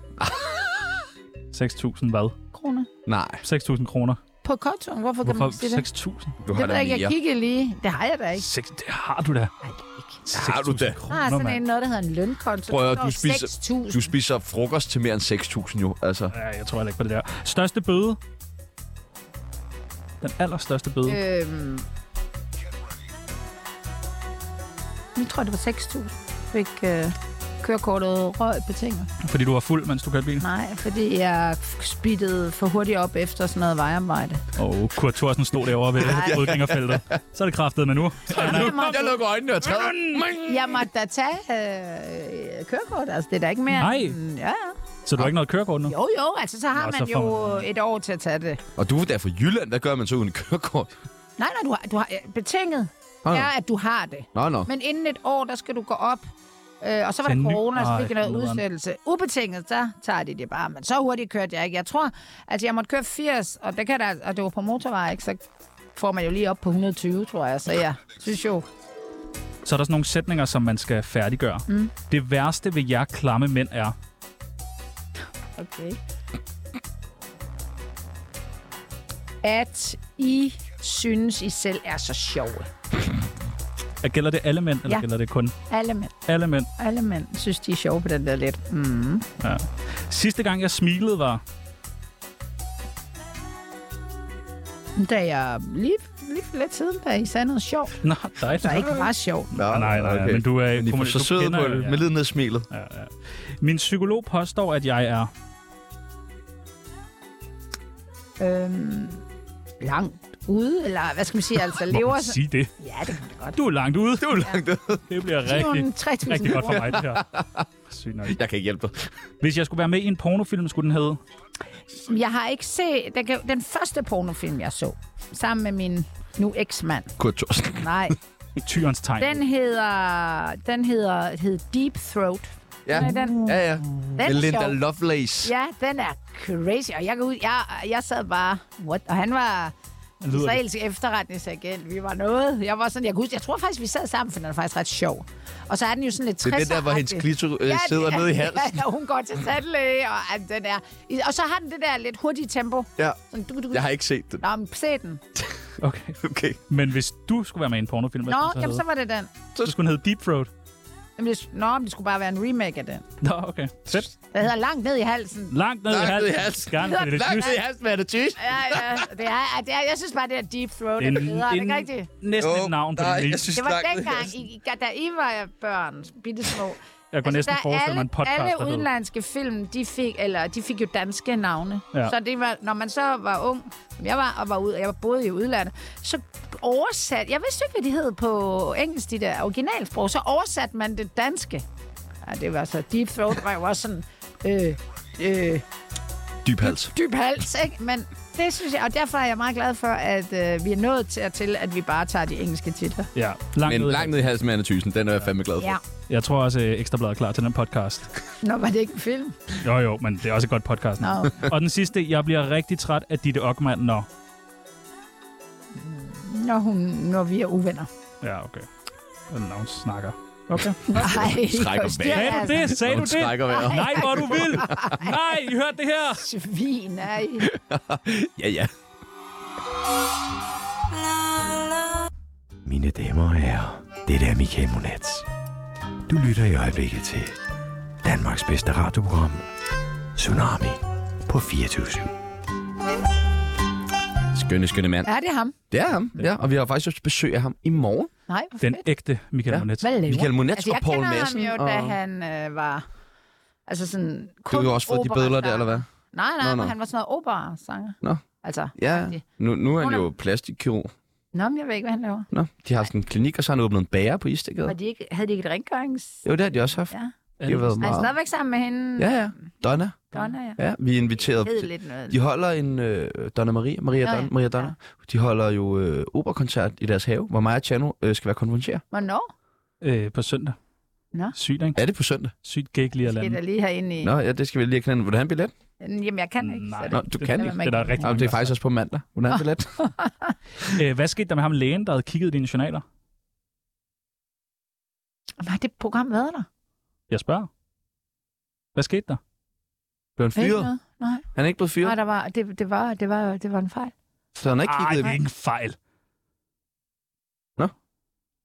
[SPEAKER 3] 6.000 hvad?
[SPEAKER 4] kroner.
[SPEAKER 1] Nej,
[SPEAKER 3] 6.000 kroner.
[SPEAKER 4] På kontoen? Hvorfor kan man
[SPEAKER 3] Hvorfor
[SPEAKER 4] ikke se det?
[SPEAKER 3] 6.000?
[SPEAKER 1] du har
[SPEAKER 4] Det ved
[SPEAKER 1] da
[SPEAKER 4] jeg ikke.
[SPEAKER 1] mere.
[SPEAKER 4] Jeg kiggede lige. Det har jeg da ikke.
[SPEAKER 3] Seks- Det har du da.
[SPEAKER 4] Nej, det er ikke.
[SPEAKER 1] Har du det?
[SPEAKER 4] Der er
[SPEAKER 3] Kroner,
[SPEAKER 4] sådan en,
[SPEAKER 3] mand.
[SPEAKER 4] noget, der hedder en lønkonto.
[SPEAKER 1] Prøv at høre,
[SPEAKER 4] Der
[SPEAKER 1] du
[SPEAKER 4] står
[SPEAKER 1] spiser-
[SPEAKER 4] 6.000.
[SPEAKER 1] Du spiser frokost til mere end 6.000 jo, altså.
[SPEAKER 3] Ja, jeg tror heller ikke på det der. Største bøde? Den allerstørste bøde. Øh.
[SPEAKER 4] Øhm... Nu tror jeg, det var 6.000. Fik øh, kørekortet røg betinger.
[SPEAKER 3] Fordi du var fuld, mens du kørte bil?
[SPEAKER 4] Nej, fordi jeg f- speedede for hurtigt op efter sådan noget vejarbejde.
[SPEAKER 3] Og oh, Kurt Thorsen stod derovre ved rødgængerfeltet. Så er det kraftet med nu.
[SPEAKER 4] Jeg måtte,
[SPEAKER 1] Jeg lukker øjnene og træder.
[SPEAKER 4] Mm. jeg måtte da tage øh, kørekort, altså det er da ikke mere.
[SPEAKER 3] Nej.
[SPEAKER 4] end- Ja, ja.
[SPEAKER 3] Så du har ikke noget kørekort nu?
[SPEAKER 4] Jo, jo, altså så har
[SPEAKER 3] Nå,
[SPEAKER 4] Nå,
[SPEAKER 3] så
[SPEAKER 4] man
[SPEAKER 3] får
[SPEAKER 4] jo et år til at tage det.
[SPEAKER 1] Og du er da fra Jylland, der gør man så uden kørekort.
[SPEAKER 4] Nej, nej, du har, du har ja, betinget
[SPEAKER 1] Nå, nå.
[SPEAKER 4] er, at du har det.
[SPEAKER 1] Nå, nå.
[SPEAKER 4] Men inden et år, der skal du gå op. Øh, og så var
[SPEAKER 3] Til en
[SPEAKER 4] der
[SPEAKER 3] ny-
[SPEAKER 4] corona, så
[SPEAKER 3] Ej,
[SPEAKER 4] fik jeg noget
[SPEAKER 3] nederen.
[SPEAKER 4] udsættelse. Ubetinget, der tager de det bare. Men så hurtigt kørte jeg ikke. Jeg tror, at jeg måtte køre 80, og det, kan der, og det var på motorvej, ikke? så får man jo lige op på 120, tror jeg. Så jeg synes jo,
[SPEAKER 3] Så er der sådan nogle sætninger, som man skal færdiggøre. Mm. Det værste ved jer klamme mænd er...
[SPEAKER 4] okay. At I synes, I selv er så sjove.
[SPEAKER 3] Er- Gælder det alle mænd, eller
[SPEAKER 4] Ja.
[SPEAKER 3] gælder det kun
[SPEAKER 4] Alle mænd,
[SPEAKER 3] alle mænd?
[SPEAKER 4] alle mænd synes, de er sjove på den der lidt. Mm.
[SPEAKER 3] Ja. Sidste gang, jeg smilede, var...
[SPEAKER 4] Da jeg lige, lige for lidt siden, da I sagde noget sjovt,
[SPEAKER 3] Nå,
[SPEAKER 4] der
[SPEAKER 3] dejligt.
[SPEAKER 4] ikke var sjovt.
[SPEAKER 1] Nå,
[SPEAKER 3] Nej, nej, nej,
[SPEAKER 1] okay.
[SPEAKER 3] men du er-
[SPEAKER 1] Men I
[SPEAKER 3] du-
[SPEAKER 1] er så
[SPEAKER 3] du
[SPEAKER 1] søde
[SPEAKER 3] kender
[SPEAKER 1] på
[SPEAKER 3] jo,
[SPEAKER 1] det.
[SPEAKER 3] ja.
[SPEAKER 1] Med lidt ned smilet.
[SPEAKER 3] Ja, ja. Min psykolog påstår, at jeg er...
[SPEAKER 4] øhm, langt ude, eller hvad skal man sige, altså lever...
[SPEAKER 3] Må sige det.
[SPEAKER 4] Ja, det kan man godt.
[SPEAKER 3] Du er langt ude.
[SPEAKER 1] Du er langt ude.
[SPEAKER 3] Det bliver
[SPEAKER 4] Det er
[SPEAKER 3] rigtig,
[SPEAKER 4] nogle 3.000
[SPEAKER 3] rigtig godt for
[SPEAKER 4] kroner.
[SPEAKER 3] mig, det her. Sygt nok.
[SPEAKER 1] Jeg kan ikke hjælpe dig.
[SPEAKER 3] Hvis jeg skulle være med i en pornofilm, skulle den hedde...
[SPEAKER 4] Jeg har ikke set... Den, kan- den første pornofilm, jeg så, sammen med min nu eksmand.
[SPEAKER 1] Kurt Thorsen.
[SPEAKER 4] Nej,
[SPEAKER 3] Tyrens tegn.
[SPEAKER 4] den hedder... Den hedder, hed Deep Throat.
[SPEAKER 1] Ja,
[SPEAKER 4] Nej, den-
[SPEAKER 1] ja, ja.
[SPEAKER 4] Den
[SPEAKER 1] Med
[SPEAKER 4] er
[SPEAKER 1] Linda
[SPEAKER 4] sjov.
[SPEAKER 1] Lovelace.
[SPEAKER 4] Ja, den er crazy. Og jeg, kan ud, jeg, jeg sad bare... What? Og han var
[SPEAKER 3] lyder det.
[SPEAKER 4] israelsk efterretningsagent. Vi var noget. Jeg var sådan... Jeg, kan huske, jeg tror faktisk, vi sad sammen, for den er faktisk ret sjov. Og så er den jo sådan lidt
[SPEAKER 1] Det er den der, hvor hendes
[SPEAKER 4] 60'er-agtig.
[SPEAKER 1] klitoris øh, sidder
[SPEAKER 4] det-
[SPEAKER 1] nede i halsen.
[SPEAKER 4] Ja, hun går til tandlæge, og, at den er, og så har den det der lidt hurtige tempo.
[SPEAKER 1] Ja.
[SPEAKER 4] Sådan, du, du,
[SPEAKER 1] Jeg har ikke set den.
[SPEAKER 4] Nå, men se den.
[SPEAKER 3] Okay.
[SPEAKER 1] Okay.
[SPEAKER 3] Men hvis du skulle være med i en pornofilm, hvad
[SPEAKER 4] Nå,
[SPEAKER 3] skulle den
[SPEAKER 4] jamen,
[SPEAKER 3] så
[SPEAKER 4] så
[SPEAKER 3] hedde?
[SPEAKER 4] var det den.
[SPEAKER 3] Så skulle den hedde Deep Throat.
[SPEAKER 4] Jamen, det, nå, men det skulle bare være en remake af den.
[SPEAKER 3] Nå, okay. Fedt.
[SPEAKER 4] Der hedder Langt ned i halsen.
[SPEAKER 3] Langt ned i
[SPEAKER 1] Langt ned i
[SPEAKER 3] halsen.
[SPEAKER 1] halsen.
[SPEAKER 3] Gerne for det lidt
[SPEAKER 1] Langt
[SPEAKER 3] nyt.
[SPEAKER 1] ned i halsen, hvad er det tyst?
[SPEAKER 4] Ja, ja. Det er, ja, det er, jeg synes bare, det er deep throat.
[SPEAKER 3] Det
[SPEAKER 4] Det
[SPEAKER 3] er
[SPEAKER 4] er,
[SPEAKER 3] en-
[SPEAKER 4] bedre. er det
[SPEAKER 3] en-
[SPEAKER 4] ikke rigtigt?
[SPEAKER 3] Næsten
[SPEAKER 1] Åh,
[SPEAKER 3] et navn på
[SPEAKER 1] nej,
[SPEAKER 3] din
[SPEAKER 1] jeg
[SPEAKER 3] liste.
[SPEAKER 1] synes,
[SPEAKER 4] Det var
[SPEAKER 1] langt ned i
[SPEAKER 4] dengang,
[SPEAKER 1] halsen.
[SPEAKER 4] I, I- da I var børn, bitte små.
[SPEAKER 3] Jeg kunne næsten forestille mig en podcast,
[SPEAKER 4] Altså, alle
[SPEAKER 3] der hed-
[SPEAKER 4] udenlandske film, de fik, eller, de fik jo danske navne.
[SPEAKER 3] Ja.
[SPEAKER 4] Ja. Så det var, når man så var ung, som jeg var, og var ud, jeg boede i udlandet, så oversat, jeg vidste ikke, hvad de hed på engelsk, de der originalsprog, så oversatte man det danske. Ja, det var så, Deep Throat var jo også sådan, øh, øh,
[SPEAKER 1] Dyb hals.
[SPEAKER 4] dyb hals, ikke? Men det synes jeg, og derfor er jeg meget glad for, at øh, vi er nået til, til, at vi bare tager de engelske titler.
[SPEAKER 3] Ja, langt
[SPEAKER 1] Men
[SPEAKER 3] ned. i
[SPEAKER 1] langt ned i halsen med Anna Thysen, den er jeg fandme glad for.
[SPEAKER 4] Ja.
[SPEAKER 3] halsen. Jeg tror også, at Ekstrabladet er klar til den podcast.
[SPEAKER 4] Nå, var det ikke en film?
[SPEAKER 3] Jo, jo, men det er også et godt podcast.
[SPEAKER 4] Nå,
[SPEAKER 3] Og den sidste, jeg bliver rigtig træt af Ditte Ockmann, når...
[SPEAKER 4] når, hun, når vi er uvenner.
[SPEAKER 3] Ja, okay. Når hun snakker. Okay.
[SPEAKER 4] Nej,
[SPEAKER 1] Trækker
[SPEAKER 4] Kost,
[SPEAKER 1] vejret.
[SPEAKER 3] Sagde
[SPEAKER 4] altså
[SPEAKER 3] du det? Sagde
[SPEAKER 1] Hun
[SPEAKER 3] du det?
[SPEAKER 1] trækker vejret.
[SPEAKER 3] Nej, hvor du vil! Nej, I hørte det her!
[SPEAKER 4] Svin, nej.
[SPEAKER 1] Ja, ja.
[SPEAKER 6] Mine damer og herrer, Det er Michael Monats. Du lytter i øjeblikket til Danmarks bedste radioprogram, Tsunami på 24
[SPEAKER 1] Skønne, skønne mand.
[SPEAKER 4] Er det ham?
[SPEAKER 1] Det er ham, ja. Og vi har faktisk også besøg af ham i morgen.
[SPEAKER 4] Nej, hvor
[SPEAKER 3] Den
[SPEAKER 4] fedt.
[SPEAKER 3] ægte Michael
[SPEAKER 1] Ja.
[SPEAKER 3] ja. Monet.
[SPEAKER 4] Hvad laver
[SPEAKER 1] Michael Monets
[SPEAKER 4] altså,
[SPEAKER 1] og
[SPEAKER 4] jeg
[SPEAKER 1] Poul
[SPEAKER 4] kender
[SPEAKER 1] Madsen
[SPEAKER 4] ham jo, da
[SPEAKER 1] og-
[SPEAKER 4] han øh, var... Altså sådan...
[SPEAKER 1] Du har jo også fået de billeder der, eller hvad?
[SPEAKER 4] Nej,
[SPEAKER 1] Nå,
[SPEAKER 4] nej, Nå,
[SPEAKER 1] nå.
[SPEAKER 4] men han var sådan noget operasanger.
[SPEAKER 1] Nå.
[SPEAKER 4] Altså,
[SPEAKER 1] Ja,
[SPEAKER 4] Rigtig.
[SPEAKER 1] nu, nu er han
[SPEAKER 4] Hun er-
[SPEAKER 1] jo plastikkirurg.
[SPEAKER 4] Nå, men jeg ved ikke, hvad han laver.
[SPEAKER 1] Nå, de har sådan en klinik, og så har han åbnet en bager på Istegade.
[SPEAKER 4] Var de ikke, havde de ikke et rengørings...
[SPEAKER 1] Jo, det har de også haft.
[SPEAKER 4] Ja.
[SPEAKER 1] De har været
[SPEAKER 4] Er han
[SPEAKER 1] meget...
[SPEAKER 4] stadigvæk sammen med hende?
[SPEAKER 1] Ja, ja. Donna.
[SPEAKER 4] Donna, ja.
[SPEAKER 1] Ja, vi er inviteret.
[SPEAKER 4] Hed lidt noget.
[SPEAKER 1] De holder en... Øh, Donna Maria. Maria,
[SPEAKER 4] Nå, ja.
[SPEAKER 1] Don, Maria Donna. De holder jo øh, operakoncert i deres have, hvor mig og Chano øh, skal være konfronteret.
[SPEAKER 4] Hvornår?
[SPEAKER 3] Øh, på søndag.
[SPEAKER 4] Nå.
[SPEAKER 3] Sygt, ikke?
[SPEAKER 1] Er det på søndag?
[SPEAKER 3] Sygt gig lige at
[SPEAKER 4] Skal
[SPEAKER 3] lande.
[SPEAKER 4] der lige herinde i...
[SPEAKER 1] Nå, ja, det skal vi lige have knaldet. Vil du have en billet?
[SPEAKER 4] Jamen, jeg kan ikke. så
[SPEAKER 3] Nej.
[SPEAKER 4] det-
[SPEAKER 1] Nå, du kan
[SPEAKER 4] det-
[SPEAKER 1] ikke.
[SPEAKER 4] man
[SPEAKER 3] Det er der rigtig
[SPEAKER 1] Nå, men det er faktisk også på mandag. Vil du
[SPEAKER 4] Ah.
[SPEAKER 1] have en billet?
[SPEAKER 3] Øh, hvad skete der med ham lægen, der havde kigget i dine journaler?
[SPEAKER 4] Har det program været der?
[SPEAKER 3] Jeg spørger. Hvad skete der?
[SPEAKER 1] Blev han
[SPEAKER 4] Ikke
[SPEAKER 1] fyret?
[SPEAKER 4] noget? Nej,
[SPEAKER 1] Han er ikke blevet fyret,
[SPEAKER 4] nej der var, det, det, var, det, var, det var en fejl.
[SPEAKER 1] så han har ikke
[SPEAKER 3] Ej,
[SPEAKER 1] kigget i
[SPEAKER 3] det er
[SPEAKER 1] dem.
[SPEAKER 3] ikke en fejl.
[SPEAKER 1] Nå.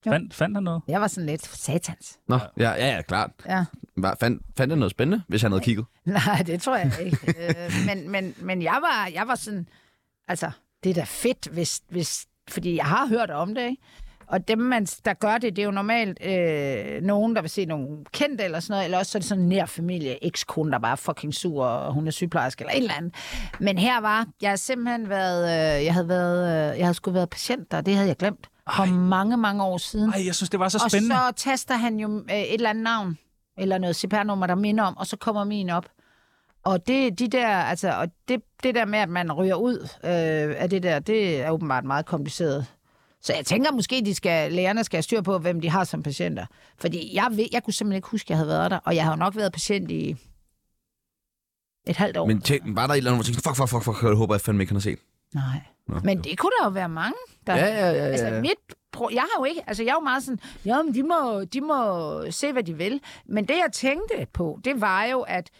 [SPEAKER 4] Jo.
[SPEAKER 3] Fand, fandt han noget?
[SPEAKER 4] Jeg var sådan lidt satans.
[SPEAKER 1] Nå, ja, ja, ja, klart.
[SPEAKER 4] Ja.
[SPEAKER 1] Var, fandt, fandt han noget spændende, hvis han havde kigget?
[SPEAKER 4] Nej, det tror jeg ikke. øh, men, men, men jeg var, jeg var sådan, altså, det er da fedt, hvis, hvis, fordi jeg har hørt om det, ikke? Og dem, man, der gør det, det er jo normalt øh, nogen, der vil se nogle kendte eller sådan noget, eller også så er det sådan en nær familie, ekskone, der bare er fucking sur, og hun er sygeplejerske eller et eller andet. Men her var, jeg har simpelthen været, øh, jeg havde været, øh, jeg havde sgu været patient der, det havde jeg glemt for
[SPEAKER 3] Ej.
[SPEAKER 4] mange, mange år siden.
[SPEAKER 3] Nej, jeg synes, det var så
[SPEAKER 4] Og
[SPEAKER 3] spændende.
[SPEAKER 4] så taster han jo øh, et eller andet navn, eller noget CPR-nummer, der minder om, og så kommer min op. Og det, de der, altså, og det, det der med, at man ryger ud øh, af det der, det er åbenbart meget kompliceret. Så jeg tænker måske, de skal, lægerne skal have styr på, hvem de har som patienter. Fordi jeg, ved, jeg kunne simpelthen ikke huske, at jeg havde været der, og jeg har jo nok været patient i et halvt år.
[SPEAKER 1] Men tænk, var der et eller andet, hvor jeg tænkte, fuck, fuck, fuck, fuck, jeg håber, jeg fandme ikke, han har set.
[SPEAKER 4] Nej. Men det kunne der jo være mange, der...
[SPEAKER 1] Ja, ja, ja, ja.
[SPEAKER 4] Altså, mit pro- jeg har jo ikke, altså jeg er jo meget sådan, ja, men de må, de må se, hvad de vil. Men det, jeg tænkte på, det var jo, at,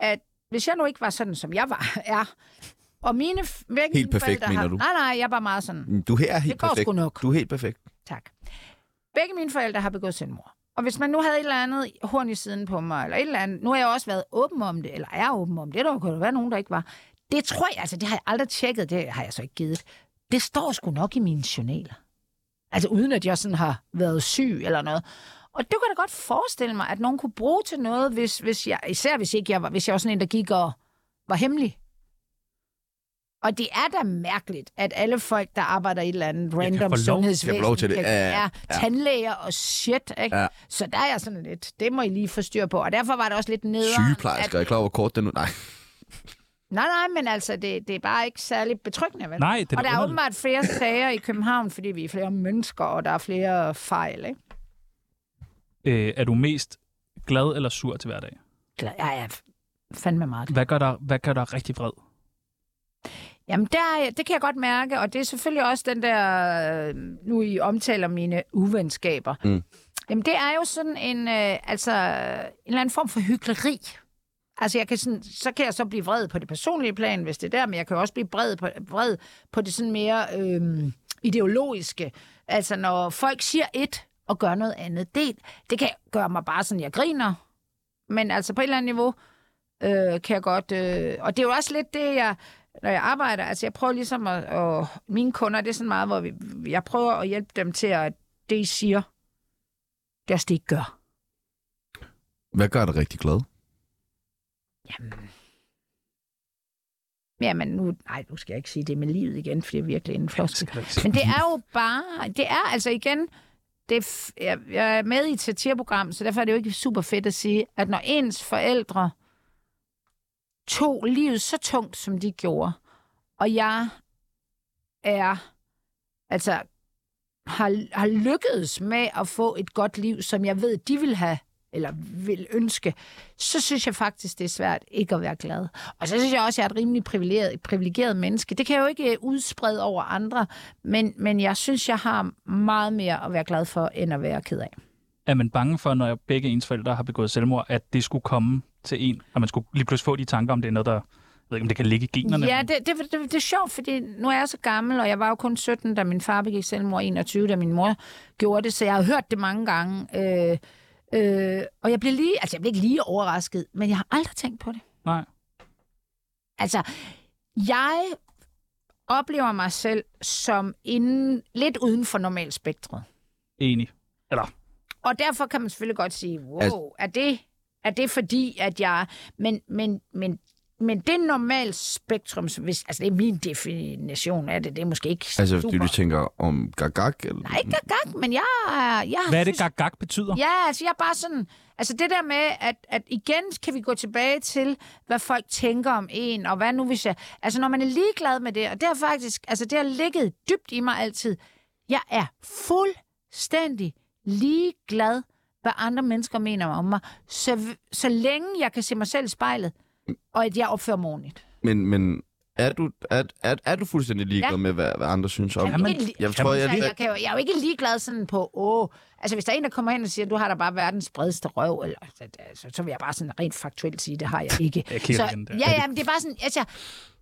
[SPEAKER 4] at hvis jeg nu ikke var sådan, som jeg var, er, og mine f- begge
[SPEAKER 1] Helt
[SPEAKER 4] mine
[SPEAKER 1] perfekt,
[SPEAKER 4] forældre
[SPEAKER 1] mener
[SPEAKER 4] har,
[SPEAKER 1] du?
[SPEAKER 4] Nej, nej, jeg var meget sådan,
[SPEAKER 1] Du her er helt
[SPEAKER 4] det går
[SPEAKER 1] perfekt.
[SPEAKER 4] sgu nok.
[SPEAKER 1] Du er helt perfekt.
[SPEAKER 4] Tak. Begge mine forældre har begået selvmord. Og hvis man nu havde et eller andet horn i siden på mig, eller et eller andet, nu har jeg også været åben om det, eller er åben om det, der kunne jo være nogen, der ikke var. Det tror jeg, altså det har jeg aldrig tjekket, det har jeg så ikke givet. Det står sgu nok i mine journaler. Altså uden at jeg sådan har været syg eller noget. Og det kunne jeg da godt forestille mig, at nogen kunne bruge til noget, hvis, hvis jeg, især hvis, ikke jeg var, hvis jeg var sådan en, der gik og var hemmelig. Og det er da mærkeligt, at alle folk, der arbejder i et eller andet
[SPEAKER 3] få
[SPEAKER 4] random
[SPEAKER 3] lov-
[SPEAKER 4] sundhedsvæsen,
[SPEAKER 1] kan få lov til det.
[SPEAKER 4] kan-
[SPEAKER 1] Ja, ja,
[SPEAKER 4] er
[SPEAKER 1] ja.
[SPEAKER 4] tandlæger og shit. Ikke?
[SPEAKER 1] Ja.
[SPEAKER 4] Så der er jeg sådan lidt, det må I lige få styr på. Og derfor var det også lidt nederen.
[SPEAKER 1] Sygeplejersker, jeg er klar over, hvor kort den nu. Nej,
[SPEAKER 4] At, nej, nej, men altså, det, det er bare ikke særlig betryggende. Vel?
[SPEAKER 3] Nej, det er
[SPEAKER 4] og
[SPEAKER 3] da
[SPEAKER 4] der er
[SPEAKER 3] underligt.
[SPEAKER 4] åbenbart flere sager i København, fordi vi er flere mennesker, og der er flere fejl. Ikke?
[SPEAKER 3] Øh, er du mest glad eller sur til hverdag?
[SPEAKER 4] Glad- Jeg er fandme meget glad.
[SPEAKER 3] Hvad gør dig, hvad gør dig rigtig vred?
[SPEAKER 4] Jamen, der, det kan jeg godt mærke, og det er selvfølgelig også den der, øh, nu I omtaler mine uvenskaber.
[SPEAKER 1] Mm.
[SPEAKER 4] Jamen, det er jo sådan en, øh, altså, en eller anden form for hyggeleri. Altså, jeg kan sådan, så kan jeg så blive vred på det personlige plan, hvis det er der, men jeg kan jo også blive vred på, vred på det sådan mere øh, ideologiske. Altså, når folk siger et og gør noget andet, det, det kan gøre mig bare sådan, jeg griner. Men altså, på et eller andet niveau, øh, kan jeg godt... Øh, og det er jo også lidt det, jeg, når jeg arbejder, altså jeg prøver ligesom at... Og mine kunder, det er sådan meget, hvor vi, jeg prøver at hjælpe dem til, at det, I siger, det er også det, I gør.
[SPEAKER 1] hvad gør dig rigtig glad?
[SPEAKER 4] Jamen. Jamen nu... Nej, nu skal jeg ikke sige det med livet igen, for det er virkelig en floskel.
[SPEAKER 3] Kan du ikke se?
[SPEAKER 4] Men det er jo bare... Det er altså igen... Det er f- jeg, jeg er med i et satirprogram, så derfor er det jo ikke super fedt at sige, at når ens forældre tog livet så tungt, som de gjorde, og jeg er... Altså, har, har lykkedes med at få et godt liv, som jeg ved, de vil have, eller vil ønske, så synes jeg faktisk, det er svært ikke at være glad. Og så synes jeg også, at jeg er et rimelig privilegeret, privilegeret menneske. Det kan jeg jo ikke øh, udsprede over andre, men, men jeg synes, jeg har meget mere at være glad for, end at være ked af.
[SPEAKER 3] Er man bange for, når begge ens forældre har begået selvmord, at det skulle komme til en, at man skulle lige pludselig få de tanker, om det er noget, der ved ikke, om det kan ligge i generne.
[SPEAKER 4] Ja, det, det, det, det er sjovt, fordi nu er jeg så gammel, og jeg var jo kun 17, da min far begik selvmord, 21, da min mor gjorde det, så jeg har hørt det mange gange. Øh, øh, og jeg blev lige, altså jeg blev ikke lige overrasket, men jeg har aldrig tænkt på det.
[SPEAKER 3] Nej.
[SPEAKER 4] Altså, jeg oplever mig selv som inden, lidt uden for normalspektret.
[SPEAKER 3] Enig.
[SPEAKER 4] Ah, Og derfor kan man selvfølgelig godt sige, wow,
[SPEAKER 1] Altså-
[SPEAKER 4] altså, er, det, er det fordi, at jeg... Men, men, men, men det normalt spektrum, som hvis, altså det er min definition af det, det er måske ikke
[SPEAKER 1] Altså, fordi
[SPEAKER 4] super.
[SPEAKER 1] du tænker om gagag? Eller?
[SPEAKER 4] Nej, ikke gag, men jeg... jeg
[SPEAKER 3] Hvad er det,
[SPEAKER 4] synes-
[SPEAKER 3] gag betyder?
[SPEAKER 4] Ja, altså jeg er bare sådan... Altså det der med, at, at igen kan vi gå tilbage til, hvad folk tænker om en, og hvad nu hvis jeg... Altså når man er ligeglad med det, og det har faktisk... Altså det har ligget dybt i mig altid. Jeg er fuldstændig ligeglad, hvad andre mennesker mener om mig, så, så længe jeg kan se mig selv i spejlet, og at jeg opfører mig ordentligt.
[SPEAKER 1] Men, men er, du, er, er, er du fuldstændig ligeglad ja.
[SPEAKER 4] Ja.
[SPEAKER 1] med, hvad, hvad andre synes om?
[SPEAKER 4] Jeg er
[SPEAKER 1] dig?
[SPEAKER 4] ikke li-
[SPEAKER 1] jeg tror,
[SPEAKER 4] Altså,
[SPEAKER 1] jeg,
[SPEAKER 4] jeg, kan jo, jeg er jo ikke ligeglad sådan på, åh, altså hvis der er en, der kommer hen og siger, du har da bare verdens bredeste røv, eller, så, så, så vil jeg bare sådan rent faktuelt sige, det har jeg ikke.
[SPEAKER 3] Jeg kigger
[SPEAKER 4] så,
[SPEAKER 3] igen der.
[SPEAKER 4] ja, ja, men det er bare sådan, altså,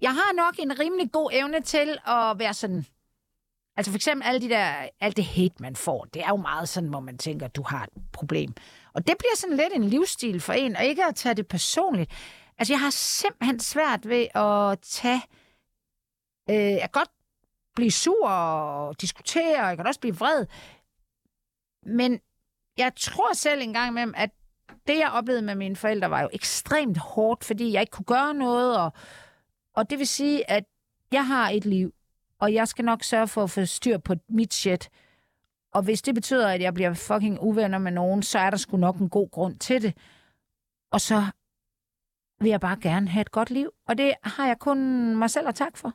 [SPEAKER 4] jeg har nok en rimelig god evne til at være sådan, altså for eksempel alle de der, alt det hate, man får, det er jo meget sådan, hvor man tænker, du har et problem. Og det bliver sådan lidt en livsstil for en, og ikke at tage det personligt. Altså, jeg har simpelthen svært ved at tage... Øh, jeg kan godt blive sur og diskutere, og jeg kan også blive vred. Men jeg tror selv en gang imellem, at det, jeg oplevede med mine forældre, var jo ekstremt hårdt, fordi jeg ikke kunne gøre noget. Og, og det vil sige, at jeg har et liv, og jeg skal nok sørge for at få styr på mit shit. Og hvis det betyder, at jeg bliver fucking uvenner med nogen, så er der sgu nok en god grund til det. Og så vil jeg bare gerne have et godt liv. Og det har jeg kun mig selv at tak for.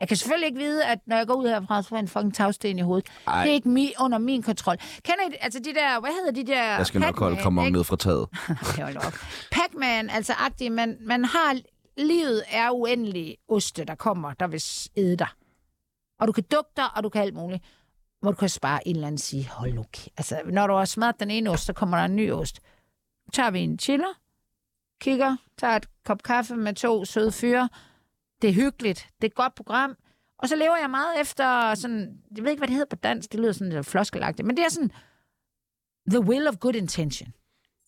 [SPEAKER 4] Jeg kan selvfølgelig ikke vide, at når jeg går ud herfra, så får jeg en fucking tagsten i hovedet. Ej. Det er ikke mi- under min kontrol. Kender I, altså de der, hvad hedder de der...
[SPEAKER 1] jeg skal nok holde
[SPEAKER 4] Pac-Man,
[SPEAKER 1] kramon
[SPEAKER 4] ikke?
[SPEAKER 1] ned fra taget.
[SPEAKER 4] Hold op. Pac-Man, altså agtig, man, man har... Livet er uendelig oste, der kommer, der vil æde dig. Og du kan dukke dig, og du kan alt muligt. Hvor du kan spare en eller anden sige, hold nu kæ- Altså, når du har smadret den ene ost, så kommer der en ny ost. Så tager vi en chiller, kigger, tager et kop kaffe med to søde fyre. Det er hyggeligt. Det er et godt program. Og så lever jeg meget efter sådan... Jeg ved ikke, hvad det hedder på dansk. Det lyder sådan lidt floskelagtigt. Men det er sådan... The will of good intention.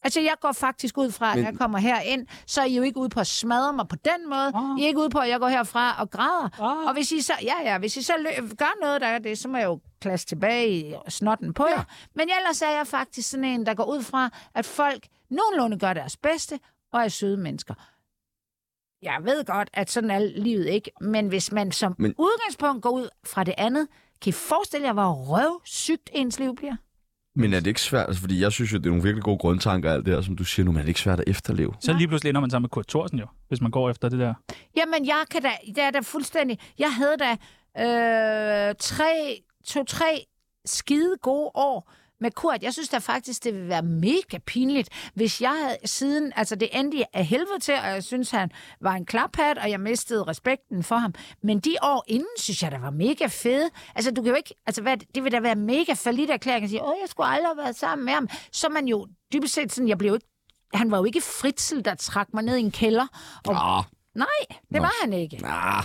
[SPEAKER 4] Altså, jeg går faktisk ud fra, at
[SPEAKER 1] Men-
[SPEAKER 4] jeg kommer herind, så er I jo ikke ude på at smadre mig på den måde.
[SPEAKER 3] Ah.
[SPEAKER 4] I er ikke ude på, at jeg går herfra og græder.
[SPEAKER 3] Ah.
[SPEAKER 4] Og hvis I så, ja, ja, hvis I så lø- gør noget, der er det, så må jeg jo klasse tilbage i snotten på ja. jer. Men ellers er jeg faktisk sådan en, der går ud fra, at folk nogenlunde gør deres bedste, og er søde mennesker. Jeg ved godt, at sådan er livet ikke, men hvis man som
[SPEAKER 1] Men-
[SPEAKER 4] men... udgangspunkt går ud fra det andet, kan I forestille jer, hvor røvsygt ens liv bliver?
[SPEAKER 1] Men er det ikke svært? Altså, fordi jeg synes jo, det er nogle virkelig gode grundtanker, alt det her, som du siger nu, men er det ikke svært at efterleve?
[SPEAKER 3] Så lige pludselig ender man sammen med Kurt Thorsen jo, hvis man går efter det der.
[SPEAKER 4] Jamen, jeg kan da, jeg er da fuldstændig... Jeg havde da øh, tre, to-tre skide gode år med Kurt. Jeg synes da faktisk, det ville være mega pinligt, hvis jeg havde siden... Altså, det endte jeg af helvede til, og jeg synes, han var en klaphat, og jeg mistede respekten for ham. Men de år inden, synes jeg, der var mega fede. Altså, du kan jo ikke... Altså, hvad, er det? det vil da være mega forlidt erklæring at sige, åh, jeg skulle aldrig have været sammen med ham. Så er man jo dybest set sådan, jeg blev jo ikke han var jo ikke Fritzel, der trak mig ned i en kælder. Og,
[SPEAKER 1] Ah,
[SPEAKER 4] Nej, det
[SPEAKER 1] Nå.
[SPEAKER 4] var han ikke.
[SPEAKER 1] ah.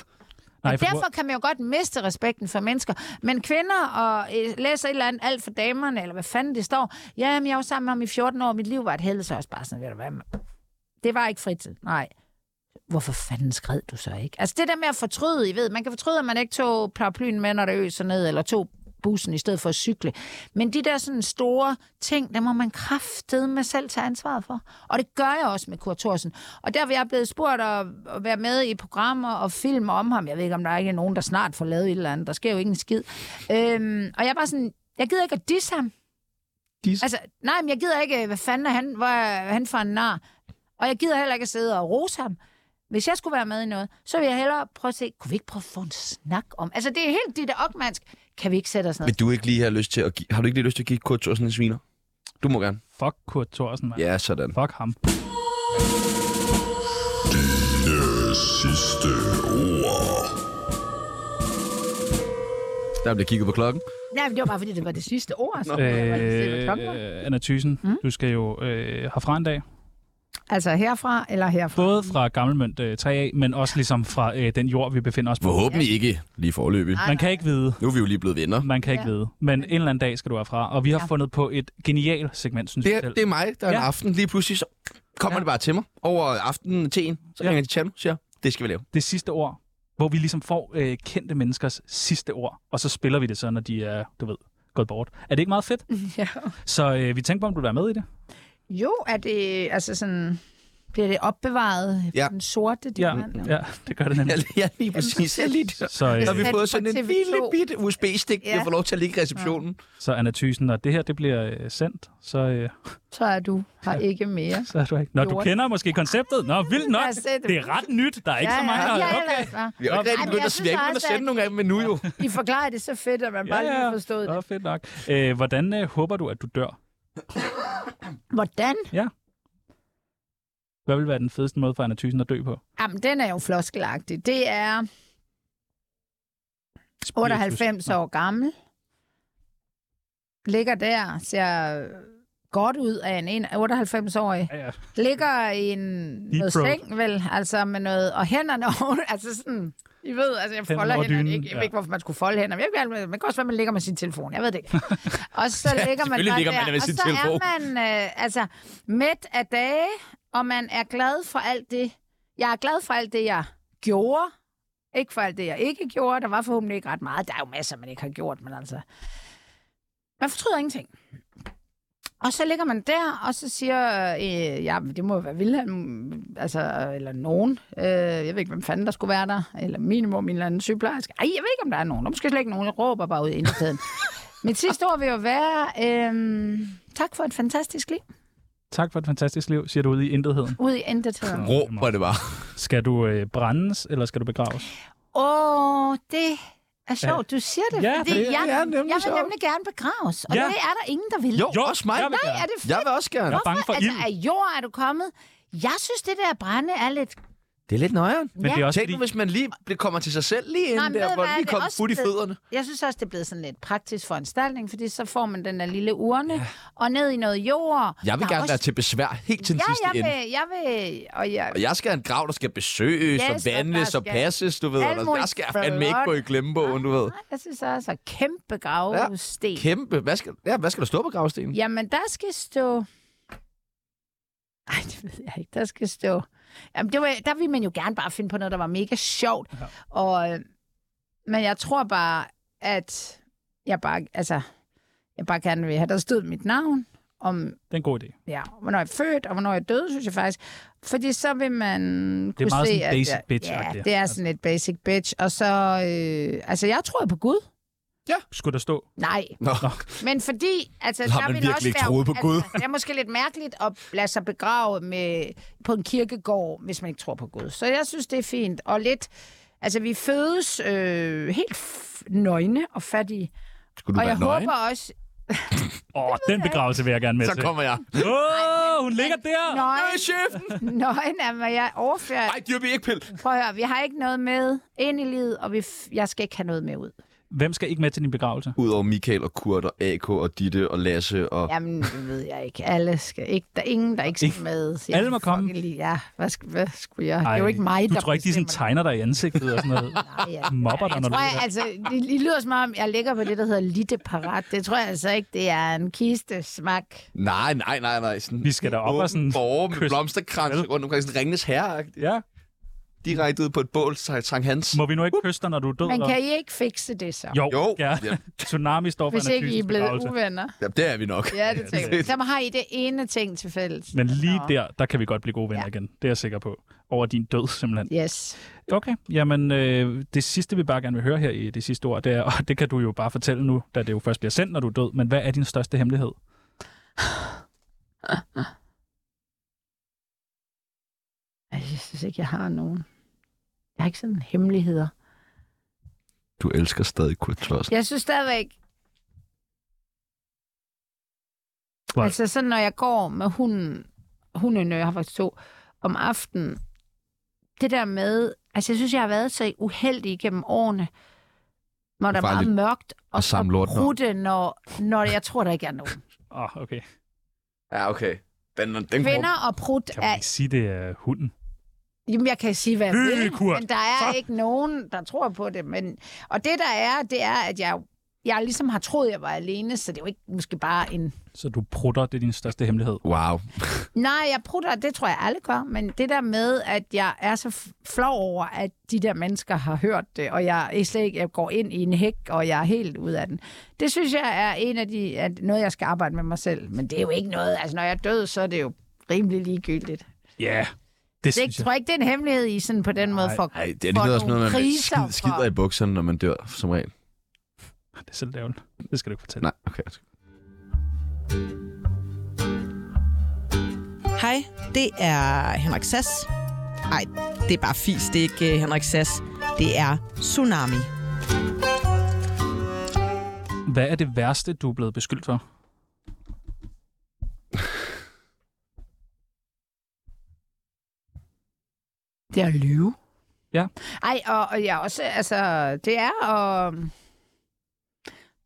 [SPEAKER 3] Nej,
[SPEAKER 4] Og
[SPEAKER 3] for,
[SPEAKER 4] derfor kan man jo godt miste respekten for mennesker. Men kvinder og øh, læser et eller andet alt for damerne, eller hvad fanden det står. Jamen, jeg var sammen med ham i 14 år, mit liv var et helvede, så er jeg også bare sådan, ved du hvad, mand? det var ikke fritid, nej. Hvorfor fanden skred du så ikke? Altså det der med at fortryde, I ved, man kan fortryde, at man ikke tog paraplyen med, når det øser ned, eller tog bussen i stedet for at cykle. Men de der sådan store ting, der må man kraftede med selv tage ansvaret for. Og det gør jeg også med Kurt Thorsen. Og der er jeg blevet spurgt at, at være med i programmer og film om ham. Jeg ved ikke, om der er ikke nogen, der snart får lavet et eller andet. Der sker jo ikke en skid. Øhm, og jeg er bare sådan, jeg gider ikke at disse ham.
[SPEAKER 3] Disse?
[SPEAKER 4] Altså, nej, men jeg gider ikke, øh, hvad fanden er han, hvor er han for en nar? Og jeg gider heller ikke at sidde og rose ham. Hvis jeg skulle være med i noget, så ville jeg hellere prøve at se, kunne vi ikke prøve at få en snak om... Altså, det er helt det der opmandsk. Kan vi ikke sætte os ned?
[SPEAKER 1] Vil du ikke lige have lyst til at give, har du ikke lige lyst til at give Kurt Thorsen en sviner? Du må gerne.
[SPEAKER 3] fuck Kurt Thorsen, mand.
[SPEAKER 1] Ja, sådan.
[SPEAKER 3] Fuck ham.
[SPEAKER 1] Der bliver kigget på klokken.
[SPEAKER 4] Nej, men det var bare, fordi det var det sidste ord. Så jeg var lige se, hvad klokken var.
[SPEAKER 3] Øh, Anna Thysen, mm? du skal jo øh, herfra en dag.
[SPEAKER 4] Altså herfra eller herfra?
[SPEAKER 3] Både fra Gammelmønt øh, 3A, men også ligesom fra øh, den jord, vi befinder os på.
[SPEAKER 1] Forhåbentlig ikke lige forløbig.
[SPEAKER 3] Man kan ikke vide.
[SPEAKER 1] Nu er vi jo lige blevet venner.
[SPEAKER 3] Man kan ikke
[SPEAKER 4] Ja.
[SPEAKER 3] ja. vide. Men en eller anden dag skal du herfra. Og vi har ja. fundet på et genialt segment, synes jeg
[SPEAKER 7] Det, er-
[SPEAKER 3] selv.
[SPEAKER 7] det er mig, der ja. en
[SPEAKER 3] Ja.
[SPEAKER 7] aften lige pludselig, så kommer ja.
[SPEAKER 3] Ja.
[SPEAKER 7] det bare til mig over aftenen til en. Så
[SPEAKER 3] Ja.
[SPEAKER 7] ringer de til mig og siger, det skal vi lave.
[SPEAKER 3] det sidste ord, hvor vi ligesom får øh, kendte menneskers sidste ord, og så spiller vi det så, når de er, du ved, gået bort. Er det ikke meget fedt?
[SPEAKER 4] Ja.
[SPEAKER 3] Så øh, vi tænkte på, om du vil være med i det.
[SPEAKER 4] Jo, er det altså sådan... Bliver det opbevaret
[SPEAKER 7] Ja.
[SPEAKER 4] ja. den sorte diamant?
[SPEAKER 3] ja det gør det nemlig.
[SPEAKER 7] Ja, ja lige præcis. Ja, lige der.
[SPEAKER 3] Så,
[SPEAKER 7] Så har vi
[SPEAKER 3] øh,
[SPEAKER 4] Sat
[SPEAKER 7] fået
[SPEAKER 4] Altså, på
[SPEAKER 7] sådan en
[SPEAKER 4] TV2.
[SPEAKER 7] lille bitte USB-stik, ja.
[SPEAKER 4] Ja.
[SPEAKER 7] der får lov til at ligge i receptionen.
[SPEAKER 3] så Anna Thysen, når det her det bliver øh, sendt, så, øh,
[SPEAKER 4] Så er du her ja. ikke mere.
[SPEAKER 3] så er du ikke... Nå, du
[SPEAKER 4] Lort.
[SPEAKER 3] kender måske konceptet? Nå, vildt nok.
[SPEAKER 4] Jeg har set det.
[SPEAKER 3] Det er ret nyt. Der er ikke så mange,
[SPEAKER 4] ja,
[SPEAKER 3] der...
[SPEAKER 4] ja,
[SPEAKER 3] Okay.
[SPEAKER 4] ellers, hva'?
[SPEAKER 7] Vi har jo ikke
[SPEAKER 4] Ej,
[SPEAKER 7] rigtig
[SPEAKER 4] men
[SPEAKER 7] begyndt
[SPEAKER 4] jeg
[SPEAKER 7] at
[SPEAKER 4] synes
[SPEAKER 7] svirke, men at
[SPEAKER 4] også,
[SPEAKER 7] sende
[SPEAKER 4] at-
[SPEAKER 7] nogle af dem endnu jo.
[SPEAKER 4] I forklarer det så fedt, at man bare
[SPEAKER 3] Ja,
[SPEAKER 4] ja,
[SPEAKER 3] ja.
[SPEAKER 4] lige forstod
[SPEAKER 3] Nå,
[SPEAKER 4] det.
[SPEAKER 3] fedt nok. Øh, hvordan øh, håber du, at du dør?
[SPEAKER 4] Hvordan?
[SPEAKER 3] Hvad vil være den fedeste måde for Anna Thysen at dø på?
[SPEAKER 4] Jamen, den er jo floskelagtig. Det er
[SPEAKER 3] Spiritus.
[SPEAKER 4] 98 år gammel. Ligger der, ser godt ud af en en- 98-årig.
[SPEAKER 3] Ja, ja.
[SPEAKER 4] Ligger i en noget
[SPEAKER 3] throat.
[SPEAKER 4] seng, vel? Altså med noget... Og hænderne over... Altså sådan... I ved, altså jeg
[SPEAKER 3] Hænderne
[SPEAKER 4] folder
[SPEAKER 3] over
[SPEAKER 4] hænderne,
[SPEAKER 3] dynen,
[SPEAKER 4] ikke. Jeg
[SPEAKER 3] ja.
[SPEAKER 4] ved ikke, hvorfor man skulle folde hænderne. men Jeg ved, ikke, man kan også være, man ligger med sin telefon. Jeg ved det ikke. Og så ligger man
[SPEAKER 7] selvfølgelig
[SPEAKER 4] bare
[SPEAKER 7] ligger man
[SPEAKER 4] der,
[SPEAKER 7] med
[SPEAKER 4] og
[SPEAKER 7] sin
[SPEAKER 4] så
[SPEAKER 7] telefon.
[SPEAKER 4] er man øh, altså mæt af dage, og man er glad for alt det. Jeg er glad for alt det, jeg gjorde. Ikke for alt det, jeg ikke gjorde. Der var forhåbentlig ikke ret meget. Der er jo masser, man ikke har gjort, men altså... Man fortryder ingenting. Og så ligger man der, og så siger, øh, ja, men det må jo være Vilhelm, altså, eller nogen. Øh, jeg ved ikke, hvem fanden der skulle være der. Eller minimum en eller anden sygeplejerske. Ej, jeg ved ikke, om der er nogen. Der er måske slet ikke nogen. Jeg råber bare ud i indertiden. Mit sidste ord vil jo være, øh, tak for et fantastisk liv.
[SPEAKER 3] Tak for et fantastisk liv, siger du ude i intetheden.
[SPEAKER 4] Ud i indertiden.
[SPEAKER 7] Råber det bare.
[SPEAKER 3] Skal du øh, brændes, eller skal du begraves?
[SPEAKER 4] Åh, oh, det er sjovt, du siger det,
[SPEAKER 3] Ja,
[SPEAKER 4] fordi
[SPEAKER 3] det er-
[SPEAKER 4] jeg,
[SPEAKER 7] det er nemlig
[SPEAKER 4] jeg vil
[SPEAKER 7] sjovt.
[SPEAKER 4] nemlig gerne begraves, og
[SPEAKER 3] Ja.
[SPEAKER 4] ja. det er der ingen, der vil.
[SPEAKER 7] Jo, også mig.
[SPEAKER 3] jeg vil
[SPEAKER 4] Nej,
[SPEAKER 3] gerne.
[SPEAKER 4] er det fedt?
[SPEAKER 7] Jeg vil også gerne.
[SPEAKER 3] Jeg er bange for
[SPEAKER 4] altså,
[SPEAKER 3] ild.
[SPEAKER 4] af jord er du kommet. Jeg synes, det der brænde er lidt...
[SPEAKER 7] Det er lidt nøjeren.
[SPEAKER 3] Men det er også
[SPEAKER 7] Tænk nu,
[SPEAKER 3] fordi,
[SPEAKER 7] hvis man lige det kommer til sig selv lige
[SPEAKER 4] Nej,
[SPEAKER 7] inden
[SPEAKER 4] men ved
[SPEAKER 7] der,
[SPEAKER 4] du
[SPEAKER 7] hvor
[SPEAKER 4] hvad,
[SPEAKER 7] lige
[SPEAKER 4] det er
[SPEAKER 7] kom
[SPEAKER 4] også
[SPEAKER 7] fut i
[SPEAKER 4] blevet-
[SPEAKER 7] fødderne.
[SPEAKER 4] Jeg synes også, det er blevet sådan lidt praktisk foranstaltning, fordi så får man den der lille urne ja. og ned i noget jord.
[SPEAKER 7] Jeg vil
[SPEAKER 4] Der er
[SPEAKER 7] gerne være
[SPEAKER 4] også...
[SPEAKER 7] til besvær helt til den
[SPEAKER 4] Ja,
[SPEAKER 7] sidste
[SPEAKER 4] jeg
[SPEAKER 7] ende.
[SPEAKER 4] vil, jeg vil, og jeg,
[SPEAKER 7] Og jeg skal have en grav, der skal besøges
[SPEAKER 4] Yes,
[SPEAKER 7] og
[SPEAKER 4] og
[SPEAKER 7] vandles
[SPEAKER 4] der
[SPEAKER 7] og
[SPEAKER 4] skal-
[SPEAKER 7] passes, du ved.
[SPEAKER 4] Alt
[SPEAKER 7] Og der
[SPEAKER 4] muligt
[SPEAKER 7] skal jeg fandme ikke gå i
[SPEAKER 4] flot.
[SPEAKER 7] glemmebogen, du ved.
[SPEAKER 4] jeg synes også, at kæmpe gravesten. Ja.
[SPEAKER 7] Kæmpe. Hvad skal, ja, hvad skal der stå på gravstenen?
[SPEAKER 4] Jamen, der skal stå... Ej, det ved jeg ikke. Der skal stå... Jamen, det var, der ville man jo gerne bare finde på noget, der var mega sjovt. Ja. Og, øh, men jeg tror bare, at jeg bare, altså, jeg bare gerne vil have, der stod mit navn, om
[SPEAKER 3] det er en god idé.
[SPEAKER 4] ja, hvornår jeg er født, og hvornår jeg er død, synes jeg faktisk. Fordi så vil man
[SPEAKER 3] Det er
[SPEAKER 4] kunne
[SPEAKER 3] meget
[SPEAKER 4] se,
[SPEAKER 3] sådan basic
[SPEAKER 4] at, jeg-
[SPEAKER 3] bitch-agtigt.
[SPEAKER 4] Ja, det er sådan lidt basic bitch. Og så, øh, altså, jeg tror på Gud.
[SPEAKER 3] Skulle der stå?
[SPEAKER 4] Nej,
[SPEAKER 7] Nå,
[SPEAKER 4] men fordi, altså,
[SPEAKER 7] Har man
[SPEAKER 4] der vil
[SPEAKER 7] virkelig
[SPEAKER 4] også
[SPEAKER 7] ikke
[SPEAKER 4] være,
[SPEAKER 7] troet på Gud?
[SPEAKER 4] Altså, det er måske lidt mærkeligt at lade sig begrave med, på en kirkegård, hvis man ikke tror på Gud. Så jeg synes, det er fint. Og lidt, altså, vi fødes øh, helt f- nøgne og fattige.
[SPEAKER 7] skulle du
[SPEAKER 4] og jeg
[SPEAKER 7] være nøgen?
[SPEAKER 4] håber også...
[SPEAKER 3] Åh, oh, den begravelse vil jeg gerne med
[SPEAKER 7] Så
[SPEAKER 3] til.
[SPEAKER 7] kommer jeg.
[SPEAKER 3] Åh, oh, hun ligger der!
[SPEAKER 7] Øh,
[SPEAKER 4] Nøgen,
[SPEAKER 7] chefen!
[SPEAKER 4] nøgen er, hvad jeg overfører.
[SPEAKER 7] Ej, dyr vi ikke pille.
[SPEAKER 4] Prøv at høre, vi har ikke noget med ind i livet, og vi f- jeg skal ikke have noget med ud.
[SPEAKER 3] Hvem skal ikke med til din begravelse?
[SPEAKER 1] Udover Michael og Kurt og AK og Ditte og Lasse og...
[SPEAKER 4] Jamen, det ved jeg ikke. Alle skal ikke. Der er ingen, der ikke skal med. Jeg
[SPEAKER 3] Alle må komme.
[SPEAKER 4] fucking lige- Ja, hvad, skal, hvad skulle jeg? Ej, det er jo ikke mig,
[SPEAKER 3] du
[SPEAKER 4] der
[SPEAKER 3] tror ikke, de sådan
[SPEAKER 4] bestemmer
[SPEAKER 3] tegner dig i ansigtet og sådan noget?
[SPEAKER 4] det. Nej, jeg-
[SPEAKER 3] Mobber dig,
[SPEAKER 4] jeg
[SPEAKER 3] når du
[SPEAKER 4] tror,
[SPEAKER 3] ligger
[SPEAKER 4] jeg, altså, det, det lyder som om, jeg ligger på det, der hedder Litte Parat. Det tror jeg altså ikke, det er en kiste smak.
[SPEAKER 7] Nej, nej, nej, nej. Sådan
[SPEAKER 3] Vi skal derop og
[SPEAKER 7] åben
[SPEAKER 3] sådan
[SPEAKER 7] Borger med
[SPEAKER 3] kysse.
[SPEAKER 7] blomsterkrans rundt omkring. Sådan ringnes herre
[SPEAKER 3] Ja.
[SPEAKER 7] Direkte ud på et bål, så Sankt Hans.
[SPEAKER 3] Må vi nu ikke kysse dig, når du er død?
[SPEAKER 4] Men
[SPEAKER 3] eller?
[SPEAKER 4] Uh, kan I ikke fikse det så?
[SPEAKER 3] Jo,
[SPEAKER 7] Jo.
[SPEAKER 3] Ja.
[SPEAKER 7] Ja.
[SPEAKER 3] Tsunami står for
[SPEAKER 4] hvis
[SPEAKER 3] Anna
[SPEAKER 4] ikke I er
[SPEAKER 3] Thysens
[SPEAKER 4] blevet
[SPEAKER 3] begravelse.
[SPEAKER 4] uvenner.
[SPEAKER 7] Ja, det er vi nok.
[SPEAKER 4] Ja, det tænker
[SPEAKER 7] det-
[SPEAKER 4] jeg. Så har I det ene ting til fælles.
[SPEAKER 3] Men lige
[SPEAKER 4] Nå.
[SPEAKER 3] der, der kan vi godt blive gode venner
[SPEAKER 4] Ja.
[SPEAKER 3] igen. Det er jeg sikker på. Over din død, simpelthen.
[SPEAKER 4] Yes.
[SPEAKER 3] Okay, jamen øh, det sidste, vi bare gerne vil høre her i det sidste ord, det er, og det kan du jo bare fortælle nu, da det jo først bliver sendt, når du er død, men hvad er din største hemmelighed?
[SPEAKER 4] Altså, jeg synes ikke, jeg har nogen. Jeg har ikke sådan hemmeligheder.
[SPEAKER 1] Du elsker stadig Kurt Klossen.
[SPEAKER 4] Jeg synes stadigvæk...
[SPEAKER 3] Hvad?
[SPEAKER 4] Altså sådan, når jeg går med hunden, hunden, jeg har faktisk to, om aftenen, det der med, altså jeg synes, jeg har været så uheldig gennem årene, når der er
[SPEAKER 1] Bare
[SPEAKER 4] meget
[SPEAKER 1] lidt
[SPEAKER 4] mørkt og
[SPEAKER 1] at
[SPEAKER 4] så
[SPEAKER 1] samle lorten op.
[SPEAKER 4] brudte, når, når jeg tror, der ikke er nogen.
[SPEAKER 3] Åh, oh, okay.
[SPEAKER 7] Ja, okay. Den, den, den
[SPEAKER 4] Kvinder og prut
[SPEAKER 3] Kan man
[SPEAKER 4] er...
[SPEAKER 3] ikke sige, det er hunden?
[SPEAKER 4] Jamen, jeg kan sige, hvad jeg vil,
[SPEAKER 3] Hylekur.
[SPEAKER 4] men der er ikke nogen, der tror på det. Men, og det, der er, det er, at jeg, jeg ligesom har troet, jeg var alene, så det er jo ikke måske bare en...
[SPEAKER 3] Så du prutter, det er din største hemmelighed.
[SPEAKER 1] Wow.
[SPEAKER 4] Nej, jeg prutter, det tror jeg alle gør, men det der med, at jeg er så f- flov over, at de der mennesker har hørt det, og jeg, er slet ikke, jeg går ind i en hæk, og jeg er helt ud af den. Det synes jeg er en af de, at noget, jeg skal arbejde med mig selv. Men det er jo ikke noget, altså når jeg er død, så er det jo rimelig ligegyldigt.
[SPEAKER 3] Ja, yeah, det
[SPEAKER 4] Det, jeg
[SPEAKER 3] synes jeg.
[SPEAKER 4] tror ikke, det er en hemmelighed i sådan på den måde for,
[SPEAKER 1] Ej, det er
[SPEAKER 4] for
[SPEAKER 1] lige også noget,
[SPEAKER 4] nogle
[SPEAKER 1] man
[SPEAKER 4] kriser.
[SPEAKER 1] skid, skider i
[SPEAKER 4] for...
[SPEAKER 1] bukserne, når man dør, som regel.
[SPEAKER 3] Det er så lavt. Det skal du ikke fortælle.
[SPEAKER 1] Nej, okay.
[SPEAKER 8] Hej, det er Henrik Sass. Nej, det er bare fis, det er ikke øh, Henrik Sass. Det er Tsunami.
[SPEAKER 3] Hvad er det værste, du er blevet beskyldt for?
[SPEAKER 4] Det er at lyve.
[SPEAKER 3] Ja.
[SPEAKER 4] Ej, og, og jeg også, altså, det er, og...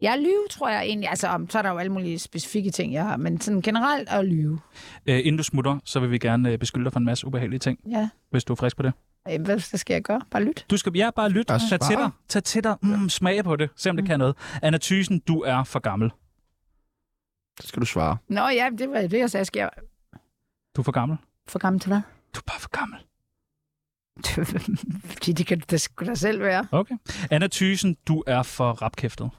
[SPEAKER 4] Jeg er lyve, tror jeg egentlig. Altså, om, så er der jo alle mulige specifikke ting, jeg har, men sådan generelt at lyve.
[SPEAKER 3] Øh, inden du smutter, så vil vi gerne øh, beskylde dig for en masse ubehagelige ting,
[SPEAKER 4] Ja.
[SPEAKER 3] hvis du er frisk på det.
[SPEAKER 4] Øh, Hvad skal jeg gøre? Bare lyt.
[SPEAKER 3] Du skal ja, bare lytte.
[SPEAKER 1] Bare
[SPEAKER 3] Tag til dig. Tag til dig. Mm, Smag på det. Se om det kan noget. Anna Thysen, du er for gammel.
[SPEAKER 1] Så skal du svare.
[SPEAKER 4] Nå ja, det var det, jeg sagde. Skal jeg
[SPEAKER 3] Du er for gammel.
[SPEAKER 4] for gammel til hvad?
[SPEAKER 3] Du er bare for gammel.
[SPEAKER 4] Fordi det kan det skulle da selv være.
[SPEAKER 3] Okay. Anna Thysen, du er for rapkæftet.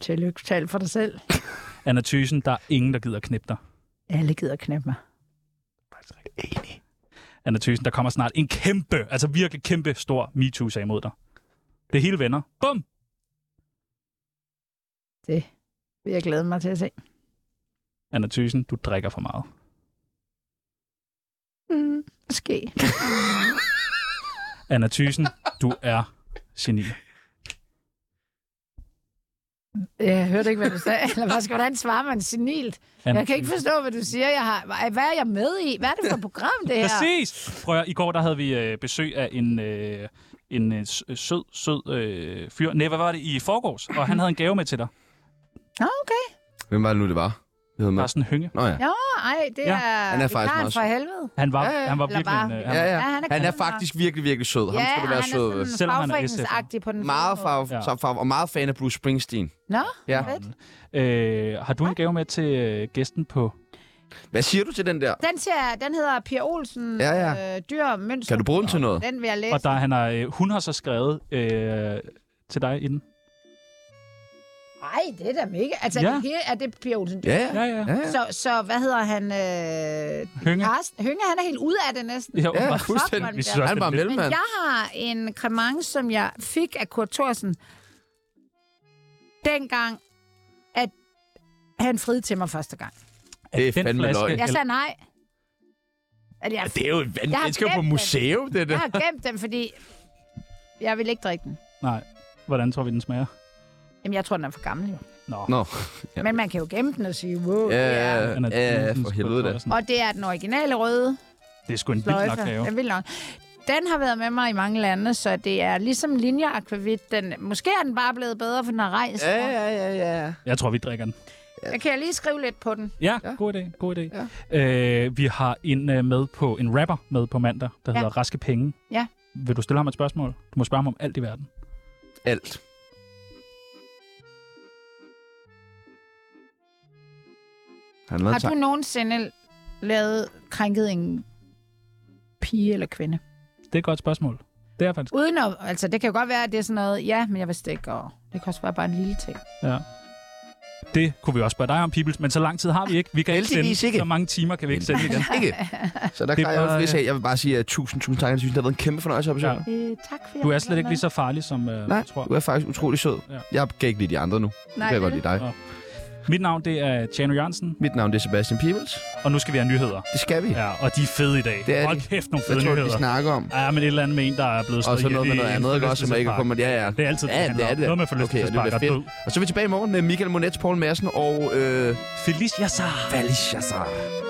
[SPEAKER 4] Tillykke, tal for dig selv.
[SPEAKER 3] Anna Thysen, der er ingen, der gider knippe dig.
[SPEAKER 4] Alle gider knæppe mig.
[SPEAKER 3] Anna Thysen, der kommer snart en kæmpe, altså virkelig kæmpe stor MeToo-sag mod dig. Det er hele venner. Bum!
[SPEAKER 4] Det vil jeg glæde mig til at se.
[SPEAKER 3] Anna Thysen, du drikker for meget.
[SPEAKER 4] Mm, måske.
[SPEAKER 3] Anna Thysen, du er geni.
[SPEAKER 4] Jeg hørte ikke, hvad du sagde. Eller hvad skal, hvordan svarer man senilt?
[SPEAKER 3] Anna
[SPEAKER 4] Jeg kan ikke forstå, hvad du siger. Jeg har, Ej, hvad er jeg med i? Hvad er det for et program, det her?
[SPEAKER 3] Præcis! Prøv at, i går der havde vi øh, besøg af en, øh, en øh, s- øh, sød, sød øh, fyr. Nej, hvad var det? I forgårs. Og han havde en gave med til dig.
[SPEAKER 4] Nå, okay.
[SPEAKER 1] Hvem var det nu, det var? Det hedder
[SPEAKER 3] Carsten Hynge.
[SPEAKER 1] Nå ja.
[SPEAKER 4] Jo, ej, det
[SPEAKER 3] Ja,
[SPEAKER 4] er...
[SPEAKER 1] han er faktisk
[SPEAKER 4] vikaren
[SPEAKER 1] meget
[SPEAKER 4] for
[SPEAKER 1] sød.
[SPEAKER 4] helvede.
[SPEAKER 3] Han var,
[SPEAKER 1] Ja, ja,
[SPEAKER 3] han var
[SPEAKER 4] eller
[SPEAKER 3] virkelig
[SPEAKER 4] bare-
[SPEAKER 3] en... Øh, han,
[SPEAKER 1] Ja,
[SPEAKER 3] var-
[SPEAKER 1] ja.
[SPEAKER 4] Ja, han er
[SPEAKER 1] Han er
[SPEAKER 4] knaldhard.
[SPEAKER 1] faktisk virkelig, virkelig sød. Ham skal du være
[SPEAKER 4] han er
[SPEAKER 1] sød.
[SPEAKER 4] sådan
[SPEAKER 1] ved.
[SPEAKER 3] Selvom han er
[SPEAKER 4] fagforeningsagtig på den
[SPEAKER 1] Meget
[SPEAKER 4] fede
[SPEAKER 1] farve,
[SPEAKER 4] måde.
[SPEAKER 3] Ja.
[SPEAKER 1] ja. farve, og meget fan af Bruce Springsteen.
[SPEAKER 4] Nå,
[SPEAKER 1] Ja.
[SPEAKER 4] fedt.
[SPEAKER 3] øh, har du en gave med til øh, gæsten på...
[SPEAKER 1] Hvad siger du til den der?
[SPEAKER 4] Den, ser, den hedder Pia Olsen,
[SPEAKER 1] Ja,
[SPEAKER 4] ja,
[SPEAKER 1] ja.
[SPEAKER 4] ja. Øh, dyr og mønster.
[SPEAKER 1] Kan du bruge den til noget?
[SPEAKER 4] Den vil jeg læse.
[SPEAKER 3] Og der, han har, øh, hun har så skrevet øh, til dig inden.
[SPEAKER 4] Ej, det er da mega. Altså,
[SPEAKER 3] Ja.
[SPEAKER 4] ja. det, hele- er det Pia Olsen?
[SPEAKER 1] Ja,
[SPEAKER 3] Ja,
[SPEAKER 1] ja.
[SPEAKER 3] ja.
[SPEAKER 1] ja, ja.
[SPEAKER 4] Så, så hvad hedder han? Øh,
[SPEAKER 3] Hynge.
[SPEAKER 4] Karsten Hynge, han er helt ude af det næsten.
[SPEAKER 3] Jo,
[SPEAKER 1] Ja,
[SPEAKER 3] bare-
[SPEAKER 1] fuldstændig.
[SPEAKER 4] fuck,
[SPEAKER 3] Vi synes
[SPEAKER 4] mand.
[SPEAKER 3] også,
[SPEAKER 1] Han
[SPEAKER 3] det er
[SPEAKER 1] var
[SPEAKER 3] lidt-
[SPEAKER 4] Men
[SPEAKER 1] mellemmand.
[SPEAKER 4] jeg har en kremang, som jeg fik af Kurt Thorsen, dengang, at han friede til mig første gang.
[SPEAKER 1] Det er
[SPEAKER 3] den
[SPEAKER 1] fandme
[SPEAKER 3] flaske-
[SPEAKER 1] løgn.
[SPEAKER 4] Jeg sagde nej. At jeg,
[SPEAKER 1] Det er jo en
[SPEAKER 4] Jeg har
[SPEAKER 1] vanvittig. Det skal jo på
[SPEAKER 4] glemt den.
[SPEAKER 1] museum, det der.
[SPEAKER 4] jeg har gemt den, fordi jeg vil ikke drikke den.
[SPEAKER 3] Nej. Hvordan tror vi, den smager?
[SPEAKER 4] Jamen, jeg tror, den er for gammel jo.
[SPEAKER 3] Nå.
[SPEAKER 1] Nå. Ja.
[SPEAKER 4] Men man kan jo gemme den og sige, wow.
[SPEAKER 1] Ja,
[SPEAKER 4] det er-
[SPEAKER 1] ja, ja, ja, for helvede da.
[SPEAKER 4] Og det er den originale røde
[SPEAKER 3] Det er sgu en vild Mm. nok
[SPEAKER 4] fløjte.
[SPEAKER 3] gave.
[SPEAKER 4] Den er vild nok. Den har været med mig i mange lande, så det er ligesom linjeakvavit. Den, måske er den bare blevet bedre, for den har rejst.
[SPEAKER 1] Ja, ja, ja, ja.
[SPEAKER 3] Jeg tror, vi drikker den.
[SPEAKER 4] Jeg kan jeg lige skrive lidt på den.
[SPEAKER 3] Ja, ja. god idé. God idé. Ja. Øh, vi har en øh, med på en rapper med på mandag, der
[SPEAKER 4] Ja.
[SPEAKER 3] hedder Raske Penge.
[SPEAKER 4] Ja.
[SPEAKER 3] Vil du stille ham et spørgsmål? Du må spørge ham om alt i verden.
[SPEAKER 1] Alt. Han lavede
[SPEAKER 4] Har
[SPEAKER 1] en
[SPEAKER 4] du
[SPEAKER 1] sang.
[SPEAKER 4] nogensinde lavet krænket en pige eller kvinde?
[SPEAKER 3] Det er et godt spørgsmål. Det er faktisk.
[SPEAKER 4] Uden at, altså, det kan jo godt være, at det er sådan noget, ja, men jeg vidste ikke, og det kan også være bare en lille ting.
[SPEAKER 3] Ja. Det kunne vi også spørge dig om, Peoples, men så lang tid har vi ikke. Vi kan ikke sende,
[SPEAKER 1] Heldigvis ikke.
[SPEAKER 3] så mange timer kan vi ikke sende igen.
[SPEAKER 1] Ikke? Så der
[SPEAKER 3] Det er
[SPEAKER 1] klarer jeg
[SPEAKER 3] bare-
[SPEAKER 1] også lidt af. Jeg vil bare sige uh, tusind, tusind tak. Jeg synes, det har været en kæmpe fornøjelse at besøge
[SPEAKER 3] Ja.
[SPEAKER 1] ja.
[SPEAKER 4] Øh, tak for
[SPEAKER 3] Du er slet ikke lige så farlig, som øh,
[SPEAKER 1] Nej,
[SPEAKER 3] jeg tror.
[SPEAKER 1] du er faktisk utrolig sød.
[SPEAKER 3] Ja.
[SPEAKER 1] Jeg kan ikke lide de andre nu. Nej,
[SPEAKER 4] Nej,
[SPEAKER 1] kan jeg
[SPEAKER 4] det
[SPEAKER 1] godt
[SPEAKER 4] er
[SPEAKER 1] lide dig.
[SPEAKER 3] Ja. Mit navn det er Tjano Jørgensen,
[SPEAKER 1] Mit navn det er Sebastian Peebles.
[SPEAKER 3] og nu skal vi have nyheder.
[SPEAKER 1] Det skal vi. Ja.
[SPEAKER 3] Ja, og de er fede i dag.
[SPEAKER 1] Det er
[SPEAKER 3] Hold
[SPEAKER 1] de.
[SPEAKER 3] kæft, nogle
[SPEAKER 1] Hvad
[SPEAKER 3] fede
[SPEAKER 1] tror du,
[SPEAKER 3] nyheder.
[SPEAKER 1] de snakker om?
[SPEAKER 3] Ja, men et eller andet med en, der er blevet
[SPEAKER 1] Og
[SPEAKER 3] slået
[SPEAKER 1] så noget med
[SPEAKER 3] ihjel i
[SPEAKER 1] noget
[SPEAKER 3] en
[SPEAKER 1] andet, ikke også, som jeg ikke har
[SPEAKER 3] forlystelsespark.
[SPEAKER 1] kommet. Ja, ja.
[SPEAKER 3] Det er altid det,
[SPEAKER 1] Ja, det er det.
[SPEAKER 3] Noget med
[SPEAKER 1] Okay, det
[SPEAKER 3] forlystelsespark
[SPEAKER 1] bliver
[SPEAKER 3] og død.
[SPEAKER 1] fedt. Og så er vi tilbage i morgen med Michael Monet, Poul Madsen og øh,
[SPEAKER 3] Feliz Yazar.
[SPEAKER 1] Valis Yazar.